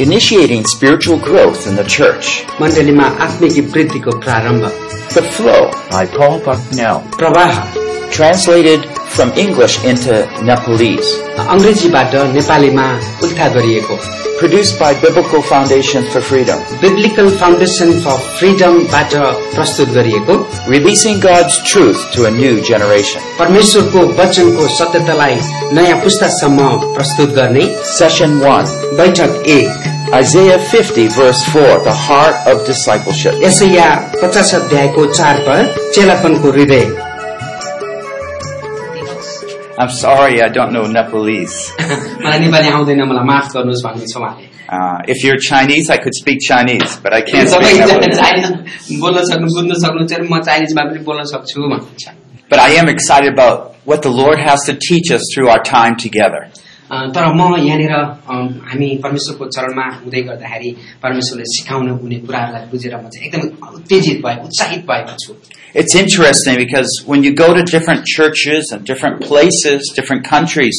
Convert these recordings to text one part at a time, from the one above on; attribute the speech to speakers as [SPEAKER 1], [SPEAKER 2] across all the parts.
[SPEAKER 1] initiating spiritual growth in the church.
[SPEAKER 2] मण्डलीमा आत्मिक वृद्धिको प्रारम्भ
[SPEAKER 1] The Flow,
[SPEAKER 3] by Paul Bucknell.
[SPEAKER 2] प्रवाह
[SPEAKER 1] translated from English into Nepalese,
[SPEAKER 2] अङ्ग्रेजीबाट नेपालीमा उल्था गरिएको
[SPEAKER 1] produced by Biblical Foundation for Freedom,
[SPEAKER 2] Biblical Foundation for फ्रिडमबाट प्रस्तुत गरिएको
[SPEAKER 1] releasing God's truth to a new generation.
[SPEAKER 2] परमेश्वरको वचनको सत्यतालाई नयाँ पुस्तासम्म प्रस्तुत गर्ने
[SPEAKER 1] Session 1,
[SPEAKER 2] बैठक एक
[SPEAKER 1] Isaiah 50 verse 4, the heart of discipleship.
[SPEAKER 2] यसैया पचास अध्यायको चार पर चेलापनको हृदय
[SPEAKER 3] I'm sorry I don't know Nepalese.
[SPEAKER 2] मलाई नेपाली आउँदैन मलाई माफ गर्नुहोस् भन्नुहुन्छ उहाँले
[SPEAKER 3] Uh, if you're Chinese, I could speak Chinese, but I can't
[SPEAKER 2] तपाईँ
[SPEAKER 3] speak Nepalese.
[SPEAKER 2] चाइनिज बोल्न सक्नु बुझ्न सक्नुहुन्छ म चाइनिजमा पनि बोल्न सक्छु भन्नुहुन्छ
[SPEAKER 3] But I am excited about what the Lord has to teach us through our time together.
[SPEAKER 2] अ, तर म यहाँनिर अ, हामी परमेश्वरको चरणमा हुँदै गर्दाखेरि परमेश्वरले सिकाउनु हुने कुराहरूलाई बुझेर म चाहिँ एकदमै उत्तेजित भएको उत्साहित भएको छु
[SPEAKER 3] It's interesting because when you go to different churches and different places, different countries,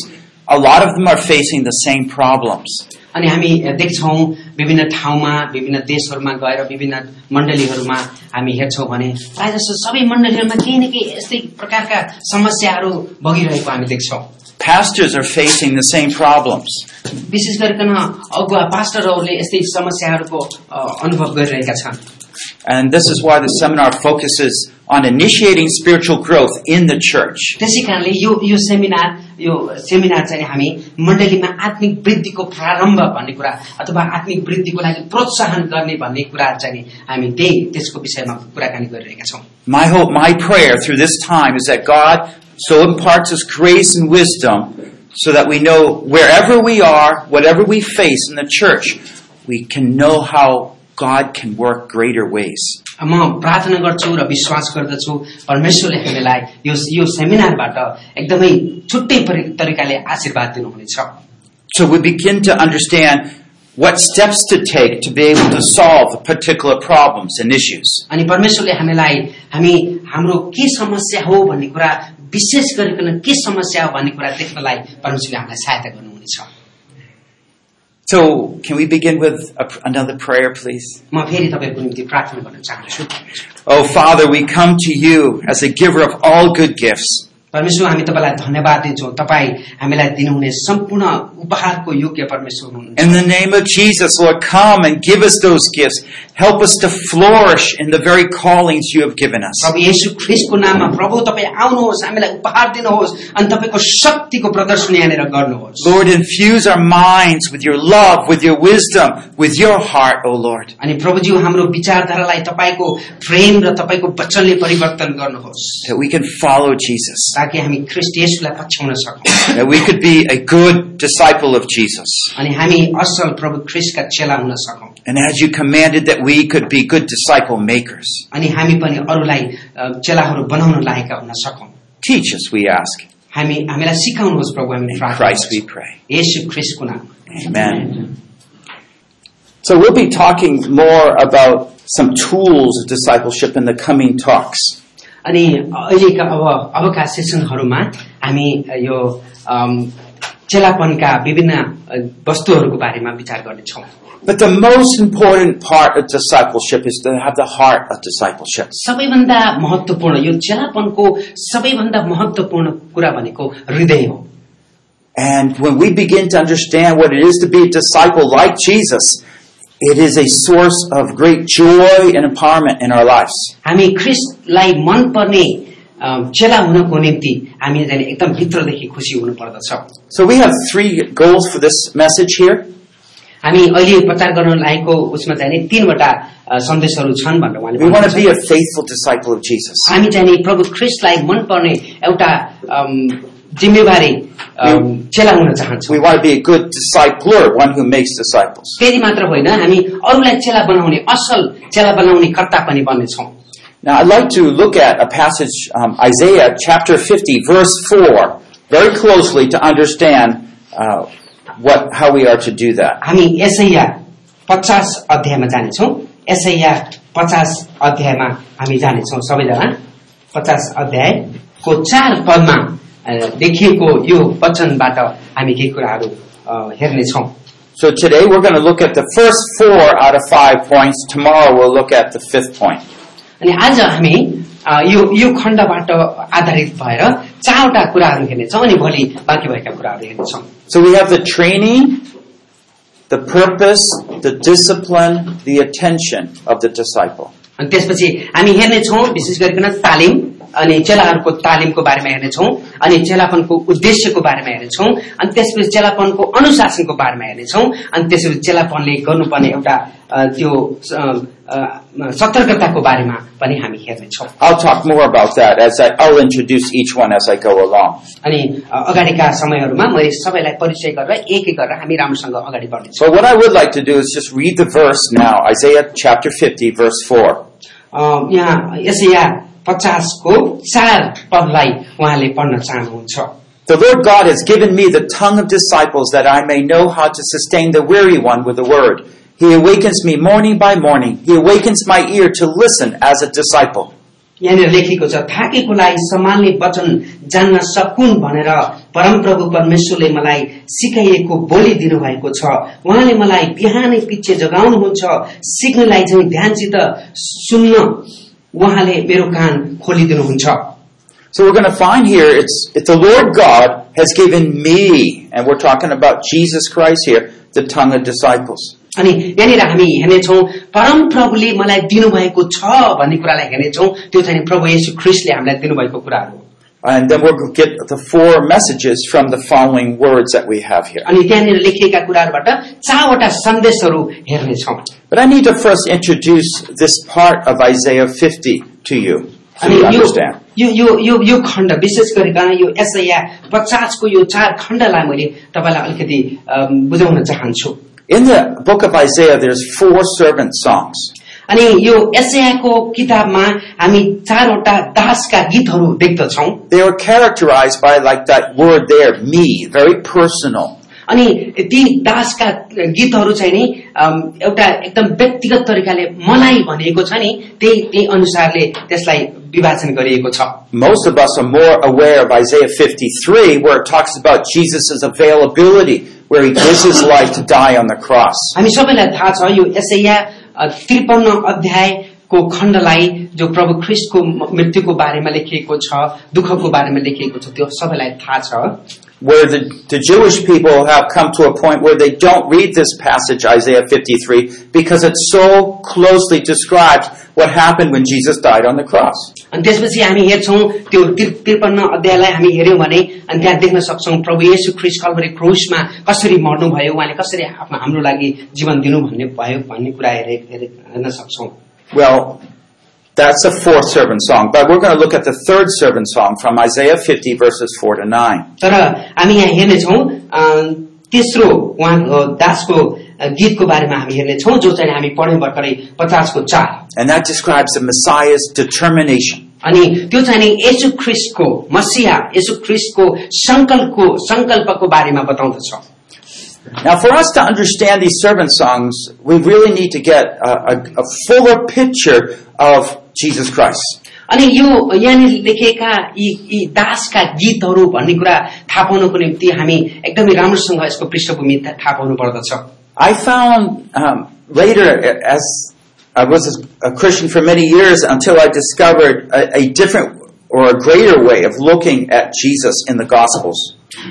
[SPEAKER 3] a lot of them are facing the same problems.
[SPEAKER 2] अनि हामी देख्छौँ विभिन्न ठाउँमा विभिन्न देशहरूमा गएर विभिन्न मण्डलीहरूमा हामी हेर्छौँ भने प्रायः जसो सबै मण्डलीहरूमा केही न केही यस्तै प्रकारका समस्याहरू बगिरहेको हामी देख्छौँ
[SPEAKER 3] Pastors are facing the same problems.
[SPEAKER 2] विशेष गरिकन अगुवा पास्टरहरूले यस्तै समस्याहरूको अ, अनुभव गरिरहेका छन्
[SPEAKER 3] And this is why the seminar focuses on initiating spiritual growth in the church.
[SPEAKER 2] त्यसै कारणले यो यो सेमिनार यो सेमिनार चाहिँ हामी मण्डलीमा आत्मिक वृद्धिको प्रारम्भ भन्ने कुरा अथवा आत्मिक वृद्धिको लागि प्रोत्साहन गर्ने भन्ने कुरा चाहिँ नि हामी त्यही त्यसको विषयमा कुराकानी गरिरहेका छौँ
[SPEAKER 3] My hope, my prayer through this time is that God so imparts us grace and wisdom so that we know wherever we are, whatever we face in the church, we can know how God can work greater ways.
[SPEAKER 2] म प्रार्थना गर्छु र विश्वास गर्दछु परमेश्वरले हामीलाई यो यो सेमिनारबाट एकदमै छुट्टै परि- तरिकाले आशीर्वाद दिनुहुनेछ
[SPEAKER 3] So we begin to understand what steps to take to be able to solve particular problems and issues.
[SPEAKER 2] अनि परमेश्वरले हामीलाई हामी हाम्रो के समस्या हो भन्ने कुरा विशेष गरिकन के समस्या हो भन्ने कुरा देख्नलाई परमेश्वरले हामीलाई सहायता गर्नुहुनेछ
[SPEAKER 3] So can we begin with a, another prayer, please?
[SPEAKER 2] म फेरि तपाईँको निम्ति प्रार्थना गर्न चाहन्छु
[SPEAKER 3] Oh, Father, we come to you as a giver of all good gifts.
[SPEAKER 2] परमेश्वर हामी तपाईँलाई धन्यवाद दिन्छौँ तपाईँ हामीलाई दिनुहुने सम्पूर्ण उपहारको योग्य परमेश्वर हुनुहुन्छ
[SPEAKER 3] In the name of Jesus, Lord, come and give us those gifts. Help us to flourish in the very callings you have given us.
[SPEAKER 2] प्रभु येशू ख्रिस्टको नाममा प्रभु तपाईँ आउनुहोस् हामीलाई उपहार दिनुहोस् अनि तपाईँको शक्तिको प्रदर्शन यहाँनिर गर्नुहोस्
[SPEAKER 3] Lord, infuse our minds with your love, with your wisdom, with your heart, O Lord.
[SPEAKER 2] अनि प्रभुज्यू हाम्रो विचारधारालाई तपाईँको प्रेम र तपाईँको वचनले परिवर्तन गर्नुहोस्
[SPEAKER 3] That we can follow Jesus.
[SPEAKER 2] ताकि हामी ख्रिस्ट येशूलाई पछ्याउन सकौँ
[SPEAKER 3] That we could be a good disciple of Jesus.
[SPEAKER 2] अनि हामी असल प्रभु ख्रिस्टका चेला हुन सकौँ
[SPEAKER 3] And as you commanded that we could be good disciple makers.
[SPEAKER 2] अनि हामी पनि अरूलाई अ, चेलाहरू बनाउन लायक हुन सकौँ
[SPEAKER 3] Teach us, we ask.
[SPEAKER 2] हामी हामीलाई सिकाउनुहोस् प्रभु हामी
[SPEAKER 3] In
[SPEAKER 2] प्रार्थना
[SPEAKER 3] Christ we
[SPEAKER 2] गर्छौं।
[SPEAKER 3] pray.
[SPEAKER 2] येशू ख्रिस्टको नाम
[SPEAKER 3] Amen.
[SPEAKER 1] So we'll be talking more about some tools of discipleship in the coming talks.
[SPEAKER 2] अनि अहिलेका अब अबका सेसनहरूमा हामी यो अम, चेलापनका विभिन्न अ, वस्तुहरूको बारेमा विचार गर्नेछौँ
[SPEAKER 1] But the most important part of discipleship is to have the heart of discipleship.
[SPEAKER 2] सबैभन्दा महत्वपूर्ण यो चेलापनको सबैभन्दा महत्वपूर्ण कुरा भनेको हृदय हो
[SPEAKER 1] And when we begin to understand what it is to be a disciple like Jesus, it is a source of great joy and empowerment in our lives.
[SPEAKER 2] हामी ख्रिस्टलाई मनपर्ने अम, चेला हुनको निम्ति हामी चाहिँ एकदम भित्रदेखि खुसी हुनुपर्दछ
[SPEAKER 1] So we have three goals for this message here.
[SPEAKER 2] हामी अहिले प्रचार गर्न लागेको उसमा चाहिँ नि तीनवटा अ, सन्देशहरू छन् भनेर उहाँले
[SPEAKER 1] We want to
[SPEAKER 2] भन्नुहुन्छ।
[SPEAKER 1] be a faithful disciple of Jesus.
[SPEAKER 2] हामी चाहिँ नि प्रभु ख्रिस्टलाई मनपर्ने एउटा अम, जिम्मेवारी अम, चेला हुन चाहन्छौँ
[SPEAKER 1] We want to be a good discipler, one who makes disciples.
[SPEAKER 2] त्यति मात्र होइन हामी अरूलाई चेला बनाउने असल चेला बनाउने कर्ता पनि बन्नेछौँ
[SPEAKER 1] Now, I'd like to look at a passage, um, Isaiah chapter 50, verse 4, very closely to understand uh, what, how we are to do that.
[SPEAKER 2] हामी यसैया पचास अध्यायमा जानेछौँ यसैया पचास अध्यायमा हामी जानेछौँ सबैजना पचास अध्यायको चार पदमा अ, देखिएको यो वचनबाट हामी केही कुराहरू अ, हेर्नेछौँ
[SPEAKER 1] So today we're going to look at the first four out of five points. Tomorrow we'll look at the fifth point.
[SPEAKER 2] अनि आज हामी अ, यो यो खण्डबाट आधारित भएर चारवटा कुराहरू हेर्नेछौँ अनि भोलि बाँकी भएका कुराहरू हेर्नेछौँ
[SPEAKER 1] So we have the training, the purpose, the discipline, the attention of the disciple.
[SPEAKER 2] अनि त्यसपछि हामी हेर्नेछौँ विशेष गरिकन तालिम अनि चेलाहरूको तालिमको बारेमा हेर्नेछौँ अनि चेलापनको उद्देश्यको बारेमा हेर्नेछौँ अनि त्यसपछि चेलापनको अनुशासनको बारेमा हेर्नेछौँ अनि त्यसपछि चेलापनले गर्नुपर्ने एउटा अ, त्यो अ, अ, सतर्कताको बारेमा पनि हामी हेर्नेछौँ
[SPEAKER 1] I'll talk more about that as I, I'll introduce each one as I go along.
[SPEAKER 2] अनि अ, अगाडिका समयहरूमा मैले सबैलाई परिचय गरेर एक एक गरेर हामी राम्रोसँग अगाडि बढ्नेछौँ
[SPEAKER 1] But what I would like to do is just read the verse now, Isaiah chapter 50 verse 4.
[SPEAKER 2] अ, यहाँ यसैया पचासको चार पदलाई उहाँले पढ्न चाहनुहुन्छ
[SPEAKER 1] The Lord God has given me the tongue of disciples that I may know how to sustain the weary one with the word. He awakens me morning by morning. He awakens my ear to listen as a disciple.
[SPEAKER 2] यहाँनिर लेखिएको छ थाकेकोलाई सम्हाल्ने वचन जान्न सकुन् भनेर परमप्रभु परमेश्वरले मलाई सिकाइएको बोली दिनुभएको छ उहाँले मलाई बिहानै पिच्छे जगाउनुहुन्छ सिक्नलाई चाहिँ ध्यानसित सुन्न उहाँले मेरो कान खोलिदिनुहुन्छ
[SPEAKER 1] So we're going to find here it's, it's the Lord God has given me, and we're talking about Jesus Christ here, the tongue of disciples.
[SPEAKER 2] अनि यहाँनिर हामी हेर्नेछौ परमप्रभुले मलाई दिनुभएको छ भन्ने कुरालाई हेर्नेछौ त्यो चाहिँ प्रभु येशू ख्रिस्टले हामीलाई दिनुभएको कुराहरू हो
[SPEAKER 1] And then we'll get the four messages from the following words that we have here.
[SPEAKER 2] अनि त्यहाँनिर लेखिएका कुराहरूबाट चारवटा सन्देशहरू हेर्नेछौँ
[SPEAKER 1] But I need to first introduce this part of Isaiah 50 to you so
[SPEAKER 2] अनि
[SPEAKER 1] you
[SPEAKER 2] यो
[SPEAKER 1] understand.
[SPEAKER 2] यो यो यो यो खण्ड विशेष गरिकन यो एसया पचासको यो चार खण्डलाई मैले तपाईँलाई अलिकति अम, बुझाउन चाहन्छु
[SPEAKER 1] In the book of Isaiah, there's four servant songs.
[SPEAKER 2] अनि यो एसयाको किताबमा हामी चारवटा दासका गीतहरू देख्दछौ
[SPEAKER 1] They are characterized by like that word there, me, very personal.
[SPEAKER 2] अनि ती दासका गीतहरू चाहिँ नि अम, एउटा एकदम व्यक्तिगत तरिकाले मलाई भनेको छ नि त्यही त्यही अनुसारले त्यसलाई विभाजन गरिएको छ
[SPEAKER 1] Most of us are more aware of Isaiah 53 where it talks about Jesus' availability, where he gives his life to die on the cross.
[SPEAKER 2] हामी सबैलाई थाहा छ यो एसैया त्रिपन्न अध्यायको खण्डलाई जो प्रभु ख्रिस्टको म- मृत्युको बारेमा लेखिएको छ दुःखको बारेमा लेखिएको छ त्यो सबैलाई थाहा छ
[SPEAKER 1] Where the, the Jewish people have come to a point where they don't read this passage, Isaiah 53, because it so closely describes what happened when Jesus died on the cross.
[SPEAKER 2] अनि त्यसपछि हामी हेर्छौँ त्यो त्रि- त्रिपन्न अध्यायलाई हामी हेऱ्यौँ भने अनि त्यहाँ देख्न सक्छौँ प्रभु येशू ख्रिस्ट कलवरी क्रुसमा कसरी मर्नुभयो उहाँले कसरी आफ्नो हाम्रो लागि जीवन दिनु भन्ने भयो भन्ने कुरा हेरे हेरे- हेर्न सक्छौँ
[SPEAKER 1] Well, that's the fourth servant song, but we're going to look at the third servant song from Isaiah 50, verses 4 to 9.
[SPEAKER 2] तर हामी यहाँ हेर्नेछौ तेस्रो उहाँ अ, दासको अ, गीतको बारेमा हामी हेर्नेछौँ जो चाहिँ हामी पढ्यौँ भर्खरै पचासको चार
[SPEAKER 1] And that describes the Messiah's determination.
[SPEAKER 2] अनि त्यो चाहिँ नि येशू ख्रिस्टको मसिहा येशू ख्रिस्टको संकल्पको संकल्पको बारेमा बताउँदछ
[SPEAKER 1] Now, for us to understand these servant songs, we really need to get a, a, a fuller picture of Jesus Christ.
[SPEAKER 2] अनि यो यहाँनिर लेखेका यी यी दासका गीतहरू भन्ने कुरा थाहा पाउनको निम्ति हामी एकदमै राम्रोसँग यसको पृष्ठभूमि थाहा पाउनु पर्दछ
[SPEAKER 1] I found um, later, a- as I was a Christian for many years, until I discovered a, a different or a greater way of looking at Jesus in the Gospels.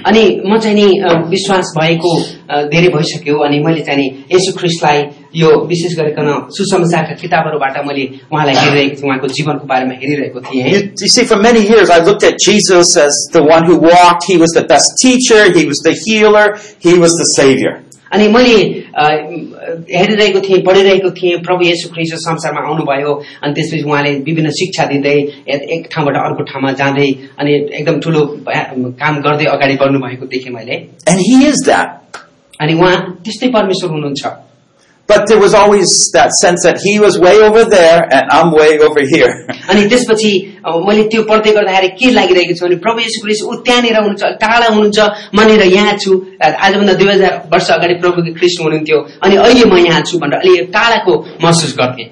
[SPEAKER 2] अनि म चाहिँ नि अ, विश्वास भएको अ, धेरै भइसक्यो अनि मैले चाहिँ नि यसु ख्रिस्टलाई यो विशेष गरिकन सुसमाचारका किताबहरूबाट मैले उहाँलाई हेरिरहेको थिएँ उहाँको जीवनको बारेमा हेरिरहेको थिएँ
[SPEAKER 1] You, you see, for many years I looked at Jesus as the one who walked. He was the best teacher. He was the healer. He was the savior.
[SPEAKER 2] अनि मैले अ, हेरिरहेको थिएँ पढिरहेको थिएँ प्रभु येशु ख्रिस्ट यो संसारमा आउनुभयो अनि त्यसपछि उहाँले विभिन्न शिक्षा दिँदै ए- एक ठाउँबाट अर्को ठाउँमा जाँदै अनि एकदम ठुलो भया- काम गर्दै अगाडि बढ्नु भएको देखेँ मैले
[SPEAKER 1] And he is that.
[SPEAKER 2] अनि उहाँ त्यस्तै परमेश्वर हुनुहुन्छ
[SPEAKER 1] But there was always that sense that he was way over there and I'm way over here.
[SPEAKER 2] अनि त्यसपछि अब मैले त्यो पढ्दै गर्दाखेरि के लागिरहेको छ भने प्रभु येशू ख्रिस्ट ऊ त्यहाँनिर हुनुहुन्छ अलि टाढा हुनुहुन्छ म यहाँनिर यहाँ छु आजभन्दा दुई हजार वर्ष अगाडि प्रभु ख्रिस्ट हुनुहुन्थ्यो अनि अहिले म यहाँ छु भनेर अलि टाढाको महसुस गर्थेँ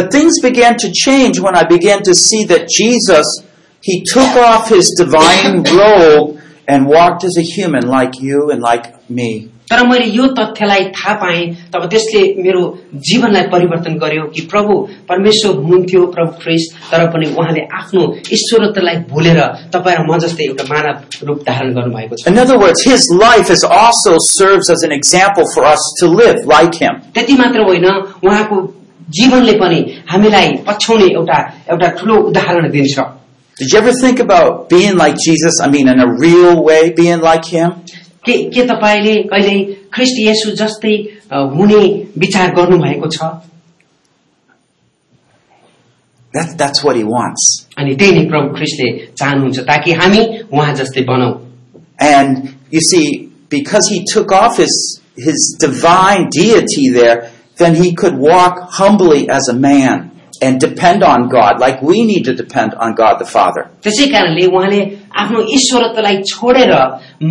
[SPEAKER 1] But things began to change when I began to see that Jesus, he took off his divine robe and walked as a human like you and like me.
[SPEAKER 2] तर मैले यो तथ्यलाई थाहा पाएँ तब त्यसले मेरो जीवनलाई परिवर्तन गर्यो कि प्रभु परमेश्वर हुनुहुन्थ्यो प्रभु ख्रिस्ट तर पनि उहाँले आफ्नो ईश्वरत्वलाई भुलेर तपाईँ र म जस्तै एउटा मानव रूप धारण गर्नुभएको छ
[SPEAKER 1] In other words, his life is also serves as an example for us to live like him.
[SPEAKER 2] त्यति मात्र होइन उहाँको जीवनले पनि हामीलाई पछ्याउने एउटा एउटा ठुलो उदाहरण दिन्छ
[SPEAKER 1] Did you ever think about being like Jesus? I mean, in a real way, being like him?
[SPEAKER 2] के के तपाईँले कहिले ख्रिस्ट येसु जस्तै अ, हुने विचार गर्नुभएको छ
[SPEAKER 1] That, that's what he wants.
[SPEAKER 2] अनि त्यही नै प्रभु ख्रिस्टले चाहनुहुन्छ ताकि हामी उहाँ जस्तै बनाऊ
[SPEAKER 1] And you see, because he took off his, his divine deity there, then he could walk humbly as a man and depend on God like we need to depend on God the Father.
[SPEAKER 2] त्यसै कारणले उहाँले आफ्नो ईश्वरत्वलाई छोडेर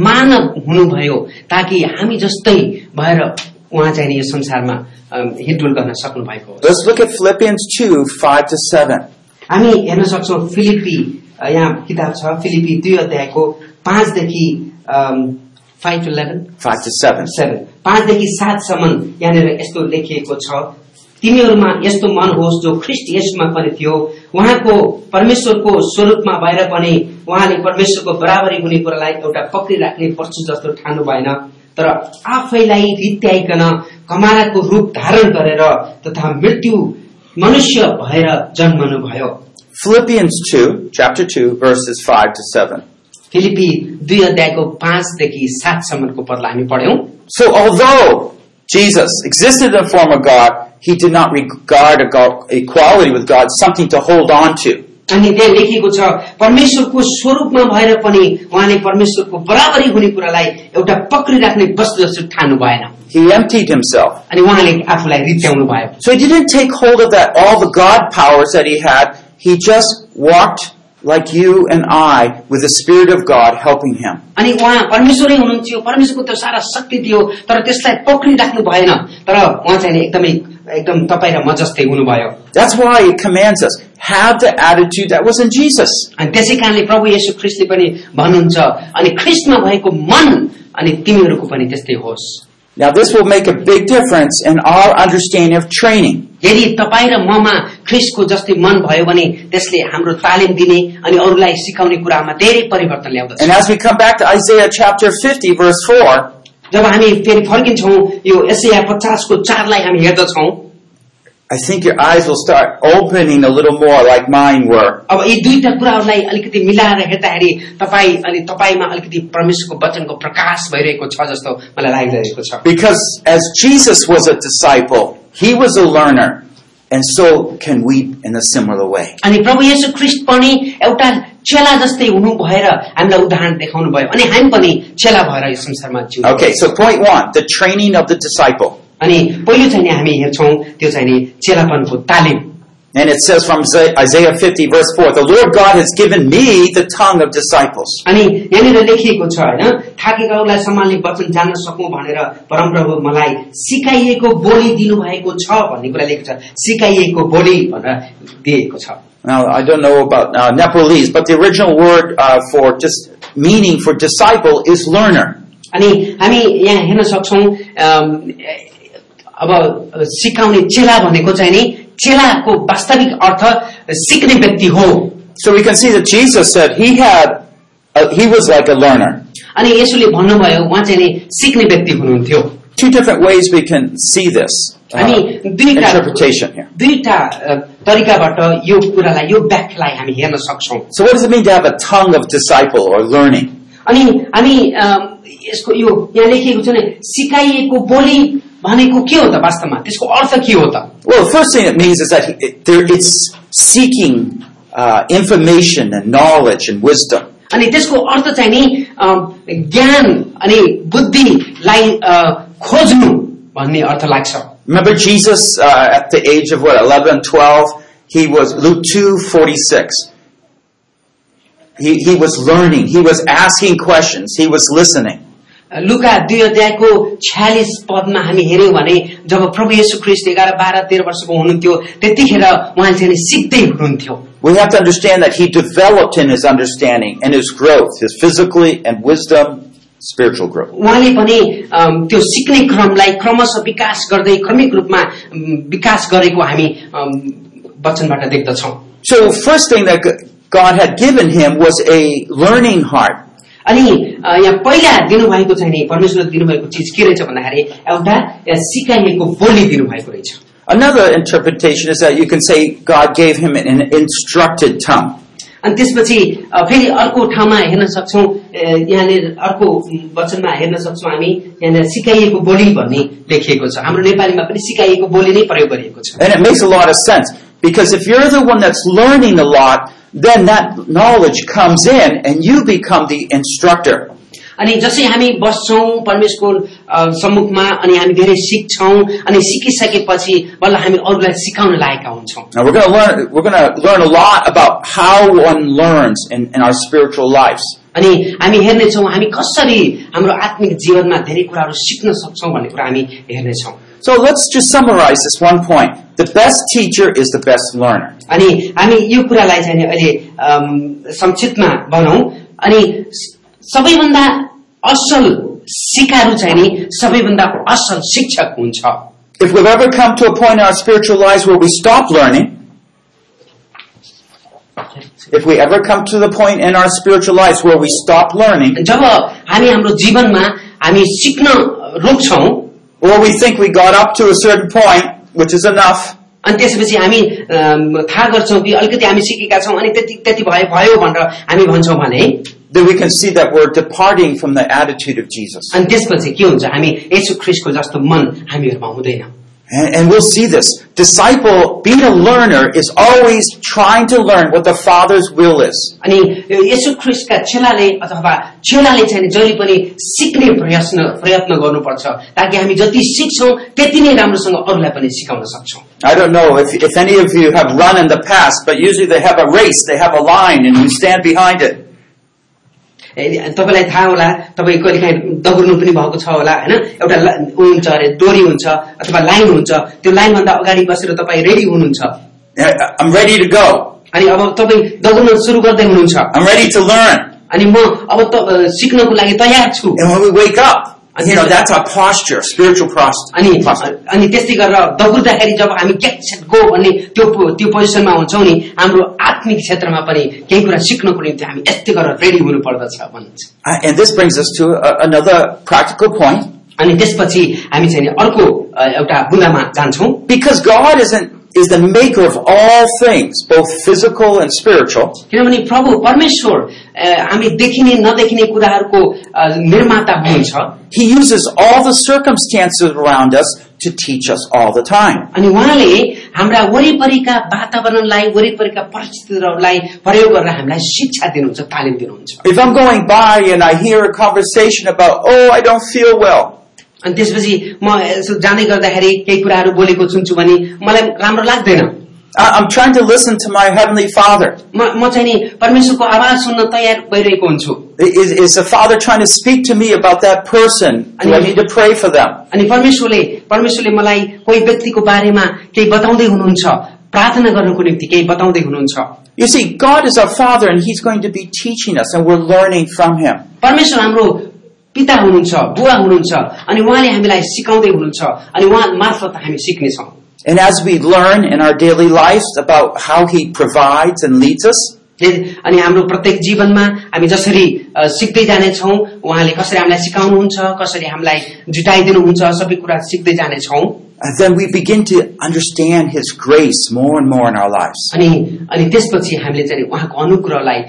[SPEAKER 2] मानव हुनुभयो ताकि हामी जस्तै भएर उहाँ चाहिँ नि यो संसारमा अ, हिँडडुल गर्न सक्नु भएको हो
[SPEAKER 1] Let's look at Philippians 2 5 to 7.
[SPEAKER 2] हामी हेर्न सक्छौ फिलिपी अ, यहाँ किताब छ फिलिपी दुई अध्यायको पाँचदेखि five to eleven
[SPEAKER 1] 5 to 7.
[SPEAKER 2] Seven पाँचदेखि सातसम्म यहाँनिर यस्तो लेखिएको छ तिमीहरूमा यस्तो मन होस् जो ख्रिस्ट यसमा पनि थियो उहाँको परमेश्वरको स्वरूपमा भएर पनि उहाँले परमेश्वरको बराबरी हुने कुरालाई एउटा पक्रिराख्ने पर्छ जस्तो ठानु भएन तर आफैलाई रित्याइकन कमाराको रूप धारण गरेर तथा मृत्यु मनुष्य भएर जन्मनु भयो
[SPEAKER 1] Philippians 2, chapter 2, verses 5 to 7.
[SPEAKER 2] Philippi दुई अध्यायको पाँचदेखि सातसम्मको पदलाई हामी पढ्यौं
[SPEAKER 1] So although Jesus existed in the form of God, he did not regard ego- equality with God something to hold on to.
[SPEAKER 2] अनि त्यहाँ लेखिएको छ परमेश्वरको स्वरूपमा भएर पनि उहाँले परमेश्वरको बराबरी हुने कुरालाई एउटा पक्रिराख्ने वस्तु जस्तो ठानु भएन
[SPEAKER 1] He emptied himself.
[SPEAKER 2] अनि उहाँले आफूलाई रित्याउनु भयो
[SPEAKER 1] So he didn't take hold of that all the God powers that he had. He just walked like you and I with the Spirit of God helping him.
[SPEAKER 2] अनि उहाँ परमेश्वरै हुनुहुन्थ्यो परमेश्वरको त्यो सारा शक्ति थियो तर त्यसलाई पक्रिराख्नु भएन तर उहाँ चाहिँ नि एकदमै एकदम तपाईँ र म जस्तै हुनुभयो
[SPEAKER 1] That's why he commands us, have the attitude that was in Jesus.
[SPEAKER 2] अनि त्यसै कारणले प्रभु येशू ख्रिस्टले पनि भन्नुहुन्छ अनि ख्रिस्टमा भएको मन अनि तिमीहरूको पनि त्यस्तै होस्
[SPEAKER 1] Now this will make a big difference in our understanding of training.
[SPEAKER 2] यदि तपाईँ र ममा ख्रिस्टको जस्तै मन भयो भने त्यसले हाम्रो तालिम दिने अनि अरूलाई सिकाउने कुरामा धेरै परिवर्तन ल्याउँदछ
[SPEAKER 1] And as we come back to Isaiah chapter 50 verse 4,
[SPEAKER 2] जब हामी फेरि फर्किन्छौँ यो एसया पचासको चारलाई हामी हेर्दछौँ
[SPEAKER 1] I think your eyes will start opening a little more like mine were.
[SPEAKER 2] अब यी दुईटा कुराहरूलाई अलिकति मिलाएर हेर्दाखेरि तपाईँ अनि तपाईँमा अलिकति परमेश्वरको वचनको प्रकाश भइरहेको छ जस्तो मलाई लागिरहेको छ
[SPEAKER 1] Because as Jesus was a disciple, he was a learner, and so can we in a similar way.
[SPEAKER 2] अनि प्रभु येशू ख्रिस्ट पनि एउटा चेला जस्तै हुनु भएर हामीलाई उदाहरण देखाउनु भयो अनि हामी पनि चेला भएर यो संसारमा जिउ
[SPEAKER 1] Okay, so point one, the training of the disciple.
[SPEAKER 2] अनि पहिलो चाहिँ नि हामी हेर्छौँ त्यो चाहिँ नि चेलापनको तालिम
[SPEAKER 1] And it says from Isaiah 50 verse 4, the Lord God has given me the tongue of disciples.
[SPEAKER 2] अनि यहाँनिर लेखिएको छ होइन थाकेकाहरूलाई सम्हाल्ने वचन जान्न सकौँ भनेर परमप्रभु मलाई सिकाइएको बोली दिनुभएको छ भन्ने कुरा लेखेको छ सिकाइएको बोली भनेर दिएको छ
[SPEAKER 1] Now, I don't know about uh, Nepalese, but the original word uh, for just meaning for disciple is learner.
[SPEAKER 2] अनि हामी यहाँ हेर्न सक्छौँ अब सिकाउने चेला भनेको चाहिँ नि चेलाको वास्तविक अर्थ सिक्ने व्यक्ति हो
[SPEAKER 1] So we can see that Jesus said he had, uh, he was like a learner.
[SPEAKER 2] अनि यसोले भन्नुभयो उहाँ चाहिँ नि सिक्ने व्यक्ति हुनुहुन्थ्यो
[SPEAKER 1] two different ways we can see this uh,
[SPEAKER 2] अनि दुईटा
[SPEAKER 1] interpretation here.
[SPEAKER 2] दुईटा अ, तरिकाबाट यो कुरालाई यो व्याख्यालाई हामी हेर्न सक्छौँ
[SPEAKER 1] So, what does it mean to have a tongue of disciple or learning?
[SPEAKER 2] अनि हामी अ, यसको यो यहाँ लेखिएको छ नि सिकाइएको बोली भनेको के हो त वास्तवमा त्यसको अर्थ के हो त
[SPEAKER 1] Well, the first thing it means is that he- it, there, it's seeking uh, information and knowledge and wisdom.
[SPEAKER 2] अनि त्यसको अर्थ चाहिँ नि अ, ज्ञान अनि बुद्धिलाई अ, खोज्नु भन्ने अर्थ लाग्छ
[SPEAKER 1] Remember Jesus uh, at the age of what, 11, 12? He was, Luke 2, 46. He, he was learning. He was asking questions. He was listening.
[SPEAKER 2] लुका दुई अध्यायको छ्यालिस पदमा हामी हेऱ्यौँ भने जब प्रभु येशू ख्रिस्ट एघार बाह्र तेह्र वर्षको हुनुहुन्थ्यो त्यतिखेर उहाँले चाहिँ नि सिक्दै हुनुहुन्थ्यो
[SPEAKER 1] We have to understand that he developed in his understanding and his growth, his physically and wisdom spiritual growth.
[SPEAKER 2] उहाँले पनि अम, त्यो सिक्ने क्रमलाई क्रमशः विकास गर्दै क्रमिक रूपमा अम, विकास गरेको हामी अम, वचनबाट देख्दछौँ
[SPEAKER 1] So, first thing that G- God had given him was a learning heart.
[SPEAKER 2] अनि अ, यहाँ पहिला दिनुभएको छ नि परमेश्वरले दिनुभएको चिज के रहेछ भन्दाखेरि एउटा अ, सिकाइएको बोली दिनुभएको रहेछ
[SPEAKER 1] Another interpretation is that you can say God gave him an instructed tongue.
[SPEAKER 2] अनि त्यसपछि अ, फेरि अर्को ठाउँमा हेर्न सक्छौँ अ, यहाँले अर्को वचनमा हेर्न सक्छौँ हामी यहाँनिर सिकाइएको बोली भन्ने लेखिएको छ हाम्रो नेपालीमा पनि सिकाइएको बोली नै प्रयोग गरिएको छ
[SPEAKER 1] And it makes a lot of sense because if you're the one that's learning a lot, then that knowledge comes in and you become the instructor.
[SPEAKER 2] अनि जसै हामी बस्छौँ परमेश्वरको अ, सम्मुखमा अनि हामी धेरै सिक्छौँ अनि सिकिसकेपछि बल्ल हामी अरूलाई सिकाउन लागेका हुन्छौँ
[SPEAKER 1] Now we're going to learn we're going to learn a lot about how one learns in, in our spiritual lives.
[SPEAKER 2] अनि हामी हेर्नेछौँ हामी कसरी हाम्रो आत्मिक जीवनमा धेरै कुराहरू सिक्न सक्छौँ भन्ने कुरा हामी हेर्नेछौँ
[SPEAKER 1] So let's just summarize this one point. The best teacher is the best learner.
[SPEAKER 2] अनि हामी यो कुरालाई चाहिँ नि अहिले अम, संक्षिप्तमा भनौँ अनि स- सबैभन्दा असल सिकारू चाहिँ नि सबैभन्दा असल शिक्षक हुन्छ
[SPEAKER 1] If we've ever come to a point in our spiritual lives where we stop learning, if we ever come to the point in our spiritual lives where we stop learning,
[SPEAKER 2] जब हामी हाम्रो जीवनमा हामी सिक्न रोक्छौँ
[SPEAKER 1] or we think we got up to a certain point, which is enough,
[SPEAKER 2] अनि त्यसपछि हामी अम, थाहा गर्छौँ कि अलिकति हामी सिकेका छौँ अनि त्यति त्यति भयो भयो भनेर हामी भन्छौँ भने
[SPEAKER 1] then we can see that we're departing from the attitude of Jesus.
[SPEAKER 2] अनि त्यसपछि के हुन्छ हामी यसु ख्रिस्टको जस्तो मन हामीहरूमा हुँदैन
[SPEAKER 1] And, and we'll see this. Disciple, being a learner, is always trying to learn what the Father's will is.
[SPEAKER 2] अनि यो यसु ख्रिस्टका चेलाले अथवा चेलाले चाहिँ नि जहिले पनि सिक्ने प्रयत्न प्रयत्न गर्नुपर्छ ताकि हामी जति सिक्छौँ त्यति नै राम्रोसँग अरूलाई पनि सिकाउन सक्छौं
[SPEAKER 1] I don't know if, if any of you have run in the past, but usually they have a race, they have a line, and you stand behind it.
[SPEAKER 2] ए, तपाईँलाई थाहा होला तपाईँ कहिलेकाहीँ दगुर्नु पनि भएको छ होला होइन एउटा ला- ऊ हुन्छ अरे डोरी हुन्छ अथवा लाइन हुन्छ त्यो लाइनभन्दा अगाडि बसेर तपाईँ रेडी हुनुहुन्छ
[SPEAKER 1] Uh, I'm ready to go.
[SPEAKER 2] अनि अब तपाईँ दगुर्न सुरु गर्दै हुनुहुन्छ
[SPEAKER 1] I'm ready to learn.
[SPEAKER 2] अनि म अब त अ, सिक्नको लागि तयार छु
[SPEAKER 1] And when we wake up,
[SPEAKER 2] I
[SPEAKER 1] you
[SPEAKER 2] see
[SPEAKER 1] know,
[SPEAKER 2] that.
[SPEAKER 1] that's our posture, spiritual pros-
[SPEAKER 2] अनि
[SPEAKER 1] posture.
[SPEAKER 2] अनि त्यस्तै गरेर दगुर्दाखेरि जब हामी क्याट सेट गो भन्ने त्यो पो- त्यो पोजिसनमा हुन्छौँ नि हाम्रो आत्मिक क्षेत्रमा पनि केही कुरा सिक्नको निम्ति हामी यस्तै गरेर रेडी हुनुपर्दछ भनिन्छ
[SPEAKER 1] Uh, and this brings us to a, another practical point.
[SPEAKER 2] अनि त्यसपछि हामी चाहिँ नि अर्को अ, एउटा बुँदामा जान्छौँ
[SPEAKER 1] Because God isn't, is the maker of all things, both physical and spiritual.
[SPEAKER 2] किनभने प्रभु परमेश्वर अ, हामी देखिने नदेखिने कुराहरूको अ, निर्माता हुनुहुन्छ
[SPEAKER 1] He uses all the circumstances around us to teach us all the time.
[SPEAKER 2] अनि उहाँले हाम्रा वरिपरिका वातावरणलाई वरिपरिका परिस्थितिहरूलाई प्रयोग गरेर हामीलाई शिक्षा दिनुहुन्छ तालिम दिनुहुन्छ
[SPEAKER 1] If I'm going by and I hear a conversation about, oh, I don't feel well,
[SPEAKER 2] अनि त्यसपछि म यसो जाँदै गर्दाखेरि केही कुराहरू बोलेको सुन्छु भने मलाई राम्रो लाग्दैन
[SPEAKER 1] I- I'm trying to listen to my Heavenly Father.
[SPEAKER 2] म म चाहिँ नि परमेश्वरको आवाज सुन्न तयार भइरहेको हुन्छु
[SPEAKER 1] Is, is the Father trying to speak to me about that person? Do I need to pray for them?
[SPEAKER 2] अनि परमेश्वरले परमेश्वरले मलाई कोही व्यक्तिको बारेमा केही बताउँदै हुनुहुन्छ प्रार्थना गर्नुको निम्ति केही बताउँदै हुनुहुन्छ
[SPEAKER 1] You see, God is our Father and He's going to be teaching us and we're learning from Him.
[SPEAKER 2] परमेश्वर हाम्रो पिता हुनुहुन्छ बुवा हुनुहुन्छ अनि उहाँले हामीलाई सिकाउँदै हुनुहुन्छ अनि उहाँ मार्फत हामी सिक्नेछौँ
[SPEAKER 1] And as we learn in our daily lives about how He provides and leads us,
[SPEAKER 2] जे- अनि हाम्रो प्रत्येक जीवनमा हामी जसरी अ, सिक्दै जानेछौँ उहाँले कसरी हामीलाई सिकाउनुहुन्छ कसरी हामीलाई जुटाइदिनुहुन्छ सबै कुरा सिक्दै जानेछौँ
[SPEAKER 1] uh, then we begin to understand His grace more and more in our lives.
[SPEAKER 2] अनि अनि त्यसपछि हामीले चाहिँ उहाँको अनुग्रहलाई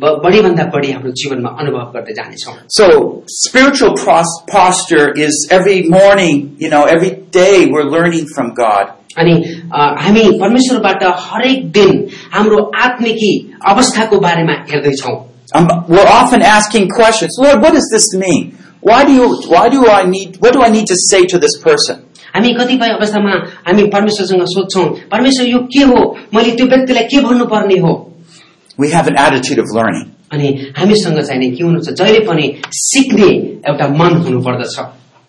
[SPEAKER 2] ब- बढीभन्दा बढी हाम्रो जीवनमा अनुभव गर्दै जानेछौँ
[SPEAKER 1] So, spiritual pros- posture is every morning, you know, every day we're learning from God.
[SPEAKER 2] अनि अ, हामी परमेश्वरबाट हरेक दिन हाम्रो आत्मिकी अवस्थाको बारेमा हेर्दैछौँ
[SPEAKER 1] Um, we're often asking questions. Lord, what does this mean? Why do you? Why do I need? What do I need to say to this person?
[SPEAKER 2] हामी कतिपय अवस्थामा हामी परमेश्वरसँग सोध्छौँ परमेश्वर यो के हो मैले त्यो व्यक्तिलाई के भन्नुपर्ने हो
[SPEAKER 1] We have an attitude of learning.
[SPEAKER 2] अनि हामीसँग चाहिँ नि के हुनुपर्छ जहिले पनि सिक्ने एउटा मन हुनुपर्दछ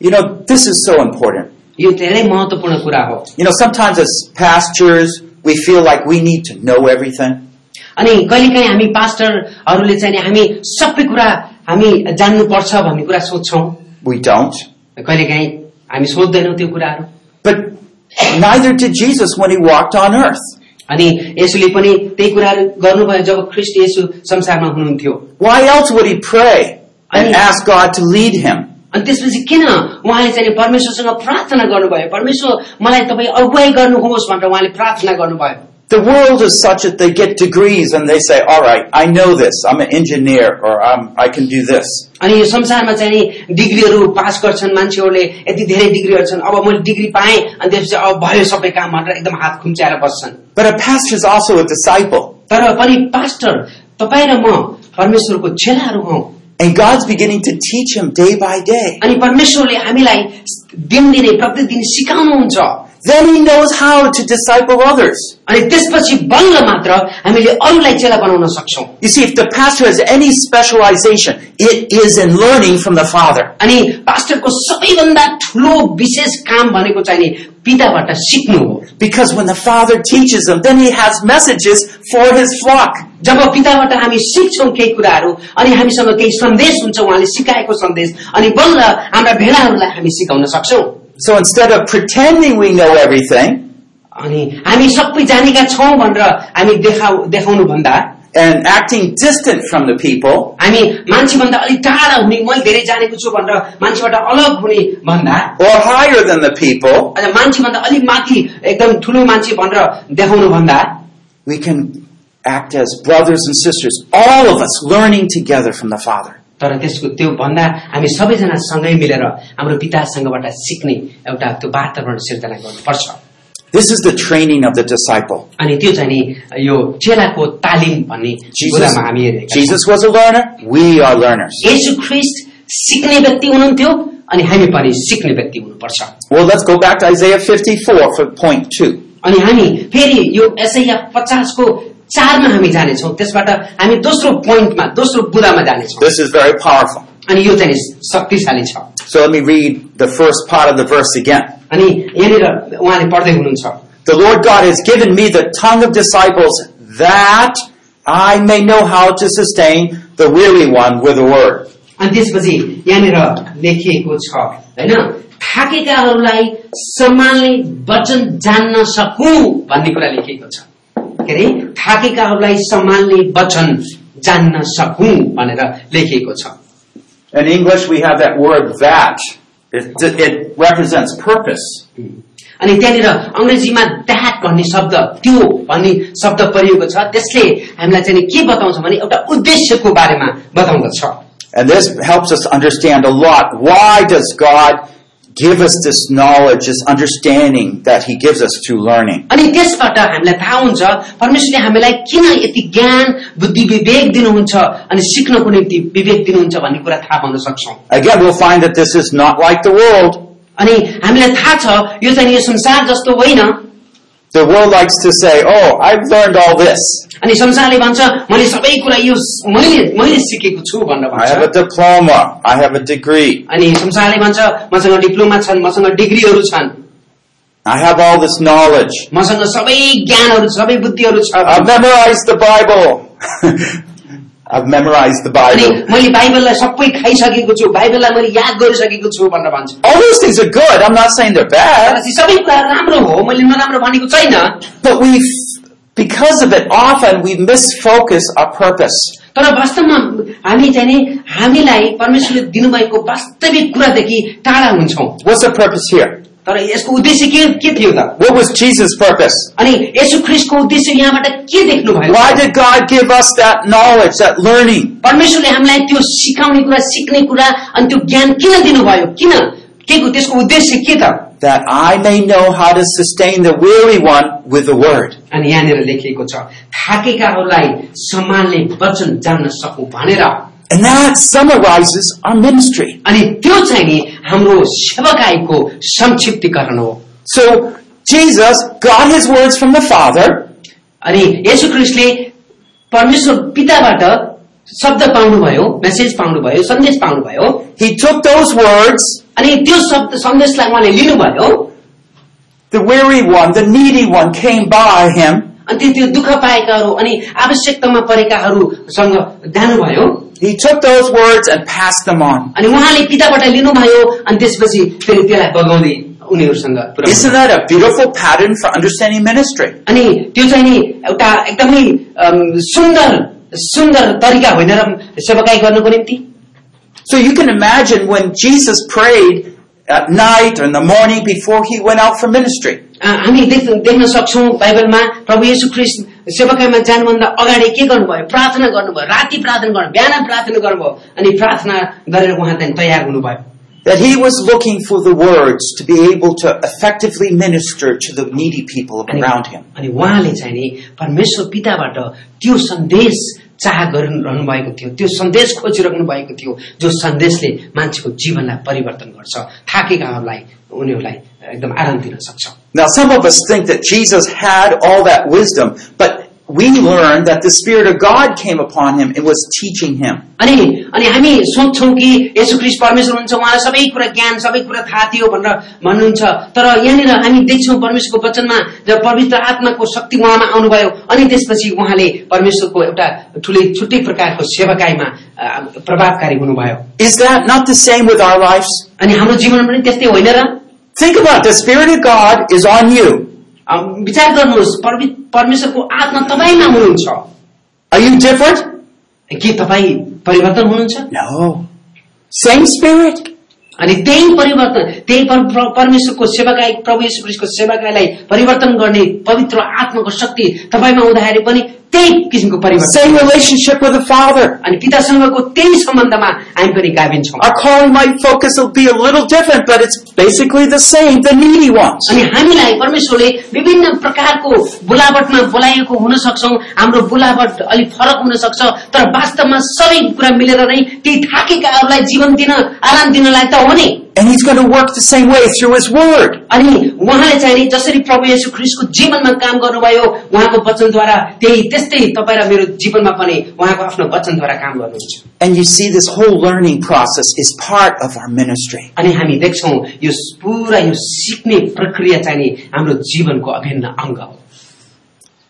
[SPEAKER 1] You know, this is so important.
[SPEAKER 2] यो धेरै महत्वपूर्ण कुरा हो
[SPEAKER 1] You know, sometimes as pastors, we feel like we need to know everything.
[SPEAKER 2] अनि कहिलेकाहीँ हामी पास्टरहरूले चाहिँ नि हामी सबै कुरा हामी जान्नुपर्छ भन्ने कुरा सोध्छौँ
[SPEAKER 1] We don't.
[SPEAKER 2] कहिलेकाहीँ हामी सोध्दैनौँ त्यो कुराहरू
[SPEAKER 1] But neither did Jesus when he walked on earth.
[SPEAKER 2] अनि यसुले पनि त्यही कुराहरू गर्नुभयो जब ख्रिस्ट यसु संसारमा हुनुहुन्थ्यो
[SPEAKER 1] Why else would he pray
[SPEAKER 2] I mean-
[SPEAKER 1] and ask God to lead him?
[SPEAKER 2] अनि त्यसपछि किन उहाँले चाहिँ परमेश्वरसँग प्रार्थना गर्नुभयो परमेश्वर मलाई तपाईँ अगुवाई गर्नुहोस् भनेर उहाँले प्रार्थना गर्नुभयो
[SPEAKER 1] The world is such that they get degrees and they say, all right, I know this. I'm an engineer or I'm, I can do this.
[SPEAKER 2] अनि यो संसारमा चाहिँ नि डिग्रीहरू पास गर्छन् मान्छेहरूले यति धेरै डिग्रीहरू छन् अब मैले डिग्री पाएँ अनि त्यसपछि अब भयो सबै काम भनेर एकदम हात खुम्च्याएर बस्छन्
[SPEAKER 1] But a pastor is also a disciple.
[SPEAKER 2] तर पनि पास्टर तपाईँ र म परमेश्वरको चेलाहरू हौ
[SPEAKER 1] And God's beginning to teach him day by day.
[SPEAKER 2] अनि परमेश्वरले हामीलाई दिनदिनै प्रतिदिन सिकाउनुहुन्छ
[SPEAKER 1] Then he knows how to disciple others.
[SPEAKER 2] अनि त्यसपछि बल्ल मात्र हामीले अरूलाई चेला बनाउन सक्छौँ
[SPEAKER 1] You see, if the pastor has any specialization, it is in learning from the Father.
[SPEAKER 2] अनि पास्टरको सबैभन्दा ठुलो विशेष काम भनेको चाहिँ नि पिताबाट सिक्नु हो
[SPEAKER 1] Because when the Father teaches him, then he has messages for his flock.
[SPEAKER 2] जब पिताबाट हामी सिक्छौँ केही कुराहरू अनि हामीसँग केही सन्देश हुन्छ उहाँले सिकाएको सन्देश अनि बल्ल हाम्रा भेडाहरूलाई हामी सिकाउन सक्छौँ
[SPEAKER 1] So instead of pretending we know everything
[SPEAKER 2] अनि हामी सबै जानेका छौँ भनेर हामी देखाउ देखाउनु भन्दा
[SPEAKER 1] and acting distant from the people,
[SPEAKER 2] हामी मान्छेभन्दा अलिक टाढा हुने मैले धेरै जानेको छु भनेर मान्छेबाट अलग हुने भन्दा
[SPEAKER 1] or higher than the people,
[SPEAKER 2] अनि मान्छेभन्दा अलिक माथि एकदम ठुलो मान्छे भनेर देखाउनु भन्दा
[SPEAKER 1] we can act as brothers and sisters, all of us learning together from the Father.
[SPEAKER 2] तर त्यसको त्यो भन्दा हामी सबैजना सँगै मिलेर हाम्रो पितासँगबाट सिक्ने एउटा त्यो वातावरण सिर्जना गर्नुपर्छ
[SPEAKER 1] This is the training of the disciple.
[SPEAKER 2] अनि त्यो चाहिँ नि यो चेलाको तालिम भन्ने
[SPEAKER 1] Jesus,
[SPEAKER 2] कुरामा हामी हेरेका छौँ।
[SPEAKER 1] Jesus was a learner. We are learners.
[SPEAKER 2] येशू ख्रिस्ट सिक्ने व्यक्ति हुनुहुन्थ्यो अनि हामी पनि सिक्ने व्यक्ति हुनुपर्छ
[SPEAKER 1] Well, let's go back to Isaiah 54 for point two.
[SPEAKER 2] अनि हामी फेरि यो एसैया पचासको चारमा हामी जानेछौँ त्यसबाट हामी दोस्रो पोइन्टमा दोस्रो बुदामा जानेछौँ
[SPEAKER 1] This is very powerful.
[SPEAKER 2] अनि यो चाहिँ शक्तिशाली छ
[SPEAKER 1] So let me read the first part of the verse again.
[SPEAKER 2] अनि यहाँनिर उहाँले पढ्दै हुनुहुन्छ
[SPEAKER 1] The Lord God has given me the tongue of disciples that I may know how to sustain the weary one with a word.
[SPEAKER 2] अनि त्यसपछि यहाँनिर लेखिएको छ होइन थाकेकाहरूलाई सम्हाल्ने वचन जान्न सकु भन्ने कुरा लेखिएको छ के अरे थाकेकाहरूलाई सम्हाल्ने वचन जान्न सकु भनेर लेखिएको छ
[SPEAKER 1] In English, we have that word that. It, it represents purpose.
[SPEAKER 2] अनि त्यहाँनिर अङ्ग्रेजीमा द्याट भन्ने शब्द त्यो भन्ने शब्द परिएको छ त्यसले हामीलाई चाहिँ नि के बताउँछ भने एउटा उद्देश्यको बारेमा बताउँदछ
[SPEAKER 1] And this helps us understand a lot. Why does God give us this knowledge, this understanding that He gives us through learning?
[SPEAKER 2] अनि त्यसबाट हामीलाई थाहा हुन्छ परमेश्वरले हामीलाई किन यति ज्ञान बुद्धि विवेक दिनुहुन्छ अनि सिक्नको निम्ति विवेक दिनुहुन्छ भन्ने कुरा थाहा पाउन सक्छौँ
[SPEAKER 1] Again, we'll find that this is not like the world.
[SPEAKER 2] अनि हामीलाई थाहा छ यो चाहिँ यो संसार जस्तो होइन
[SPEAKER 1] The world likes to say, Oh, I've learned all this.
[SPEAKER 2] अनि संसारले भन्छ मैले सबै कुरा यो स- मैले मैले सिकेको छु भनेर
[SPEAKER 1] I have a
[SPEAKER 2] भन्छ
[SPEAKER 1] diploma. I have a degree.
[SPEAKER 2] अनि संसारले भन्छ मसँग डिप्लोमा छन् मसँग डिग्रीहरू छन्
[SPEAKER 1] I have all this knowledge.
[SPEAKER 2] मसँग सबै ज्ञानहरू सबै बुद्धिहरू छ
[SPEAKER 1] I've memorized the Bible. I've memorized the
[SPEAKER 2] अनि
[SPEAKER 1] Bible.
[SPEAKER 2] मैले बाइबललाई सबै खाइसकेको छु बाइबललाई मैले याद गरिसकेको छु भनेर भन्छ
[SPEAKER 1] All those things are good. I'm not saying they're
[SPEAKER 2] तर
[SPEAKER 1] bad.
[SPEAKER 2] ती सबै कुरा राम्रो हो मैले नराम्रो भनेको छैन
[SPEAKER 1] But we, because of it, often we misfocus our purpose.
[SPEAKER 2] तर वास्तवमा हामी चाहिँ नि हामीलाई परमेश्वरले दिनुभएको वास्तविक कुरादेखि टाढा हुन्छौँ
[SPEAKER 1] What's the purpose here?
[SPEAKER 2] तर यसको उद्देश्य के के थियो त
[SPEAKER 1] What was Jesus' purpose?
[SPEAKER 2] अनि यसु ख्रिस्टको उद्देश्य यहाँबाट के देख्नुभयो
[SPEAKER 1] Why did God give us that knowledge, that learning?
[SPEAKER 2] परमेश्वरले हामीलाई त्यो सिकाउने कुरा सिक्ने कुरा अनि त्यो ज्ञान किन दिनुभयो किन के को त्यसको उद्देश्य के त
[SPEAKER 1] That I may know how to sustain the weary one with the word.
[SPEAKER 2] अनि यहाँनिर लेखिएको छ थाकेकाहरूलाई सम्हाल्ने वचन जान्न सकु भनेर
[SPEAKER 1] And that summarizes our ministry.
[SPEAKER 2] अनि त्यो चाहिँ नि हाम्रो सेवकाईको संक्षिप्तीकरण हो
[SPEAKER 1] So Jesus got his words from the Father,
[SPEAKER 2] अनि यसु ख्रिस्टले परमेश्वर पिताबाट शब्द पाउनुभयो मेसेज पाउनुभयो सन्देश पाउनुभयो
[SPEAKER 1] he took those words,
[SPEAKER 2] अनि त्यो शब्द सन्देशलाई उहाँले लिनुभयो
[SPEAKER 1] the weary one, the needy one came by him,
[SPEAKER 2] अनि त्यो- त्यो दुःख पाएकाहरू अनि आवश्यकतामा परेकाहरूसँग जानुभयो
[SPEAKER 1] he took those words and passed them on.
[SPEAKER 2] अनि उहाँले पिताबाट लिनुभयो अनि त्यसपछि फेरि त्यसलाई बगाउँदै उनीहरूसँग पुऱ्याउनु
[SPEAKER 1] Isn't that a beautiful pattern for understanding ministry?
[SPEAKER 2] अनि त्यो चाहिँ नि एउटा एकदमै अम, सुन्दर सुन्दर तरिका होइन र सेवकाई गर्नुको निम्ति
[SPEAKER 1] So you can imagine when Jesus prayed at night or in the morning before he went out for ministry.
[SPEAKER 2] अ, हामी देख्- देख्न सक्छौँ बाइबलमा प्रभु येशू ख्रिस्ट सेवकाईमा जानुभन्दा अगाडि के गर्नुभयो प्रार्थना गर्नुभयो राति प्रार्थना गर्नु बिहान प्रार्थना गर्नुभयो अनि प्रार्थना गरेर उहाँ चाहिँ तयार हुनुभयो
[SPEAKER 1] That he was looking for the words to be able to effectively minister to the needy people
[SPEAKER 2] अनि
[SPEAKER 1] around him.
[SPEAKER 2] अनि उहाँले चाहिँ नि परमेश्वर पिताबाट त्यो सन्देश चाह गरिरहनु भएको थियो त्यो सन्देश खोजिरहनु भएको थियो जो सन्देशले मान्छेको जीवनलाई परिवर्तन गर्छ थाकेकाहरूलाई उनीहरूलाई एकदम आराम दिन सक्छ
[SPEAKER 1] Now, some of us think that Jesus had all that wisdom, but we learn that the Spirit of God came upon him and was teaching him.
[SPEAKER 2] अनि अनि हामी सोच्छौँ कि यसो क्रिस्ट परमेश्वर हुनुहुन्छ उहाँलाई सबै कुरा ज्ञान सबै कुरा थाहा थियो भनेर भन्नुहुन्छ तर यहाँनिर हामी देख्छौँ परमेश्वरको वचनमा जब पवित्र आत्माको शक्ति उहाँमा आउनुभयो अनि त्यसपछि उहाँले परमेश्वरको एउटा ठुलै छुट्टै प्रकारको सेवाकाईमा अ, प्रभावकारी हुनुभयो
[SPEAKER 1] Is that not the same with our lives?
[SPEAKER 2] अनि हाम्रो जीवन पनि त्यस्तै होइन र
[SPEAKER 1] Think about it. the Spirit of God is on you.
[SPEAKER 2] अम, विचार गर्नुहोस् परमे- परमेश्वरको आत्मा तपाईँमा हुनुहुन्छ
[SPEAKER 1] Are you different?
[SPEAKER 2] के तपाईँ परिवर्तन हुनुहुन्छ
[SPEAKER 1] No. Same Spirit.
[SPEAKER 2] अनि त्यही परिवर्तन त्यही पर- पर- परमेश्वरको सेवाकाई प्रभु यीशु ख्रीष्टको सेवाकाईलाई परिवर्तन गर्ने पवित्र आत्माको शक्ति तपाईँमा हुँदाखेरि पनि त्यही किसिमको परिवर्तन
[SPEAKER 1] Same relationship with the Father.
[SPEAKER 2] अनि पितासँगको त्यही सम्बन्धमा हामी पनि गाभिन्छौँ
[SPEAKER 1] Our calling might focus will be a little different, but it's basically the same, the needy ones.
[SPEAKER 2] अनि हामीलाई परमेश्वरले विभिन्न प्रकारको बोलावटमा बोलाएको हुन सक्छौ हाम्रो बोलावट अलिक फरक हुन सक्छ तर वास्तवमा सबै कुरा मिलेर नै ती थाकेकाहरूलाई जीवन दिन आराम दिनलाई त हो नि
[SPEAKER 1] And He's going to work the same way through His Word.
[SPEAKER 2] अनि उहाँले चाहिँ नि जसरी प्रभु येशू ख्रिस्टको जीवनमा काम गर्नुभयो उहाँको वचनद्वारा त्यही त्यस्तै तपाईँ र मेरो जीवनमा पनि उहाँको आफ्नो वचनद्वारा काम गर्नुहुन्छ
[SPEAKER 1] And you see, this whole learning process is part of our ministry.
[SPEAKER 2] अनि हामी देख्छौ यो पुरा यो सिक्ने प्रक्रिया चाहिँ नि हाम्रो जीवनको अभिन्न अङ्ग हो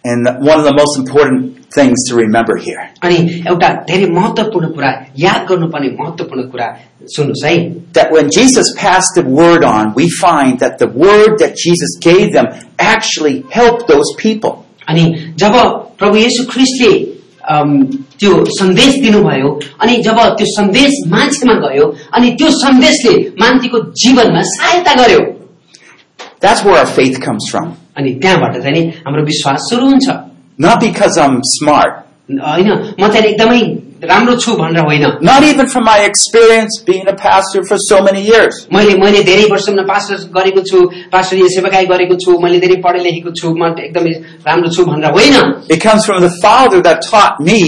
[SPEAKER 1] And one of the most important things to remember here
[SPEAKER 2] अनि एउटा धेरै महत्वपूर्ण कुरा याद गर्नुपर्ने महत्वपूर्ण कुरा सुन्नुहोस् है
[SPEAKER 1] that when Jesus passed the word on, we find that the word that Jesus gave them actually helped those people.
[SPEAKER 2] अनि जब प्रभु येशू ख्रिस्टले अम, त्यो सन्देश दिनुभयो अनि जब त्यो सन्देश मान्छेमा गयो अनि त्यो सन्देशले मान्छेको जीवनमा सहायता गर्यो
[SPEAKER 1] That's where our faith comes from.
[SPEAKER 2] अनि त्यहाँबाट चाहिँ नि हाम्रो विश्वास सुरु हुन्छ
[SPEAKER 1] Not because I'm smart,
[SPEAKER 2] होइन म चाहिँ एकदमै राम्रो छु भनेर होइन
[SPEAKER 1] not even from my experience being a pastor for so many years.
[SPEAKER 2] मैले मैले धेरै वर्षसम्म पास्टर गरेको छु पास्टर यो सेवाकाई गरेको छु मैले धेरै पढे लेखेको छु म एकदमै राम्रो छु भनेर होइन
[SPEAKER 1] It comes from the Father that taught me,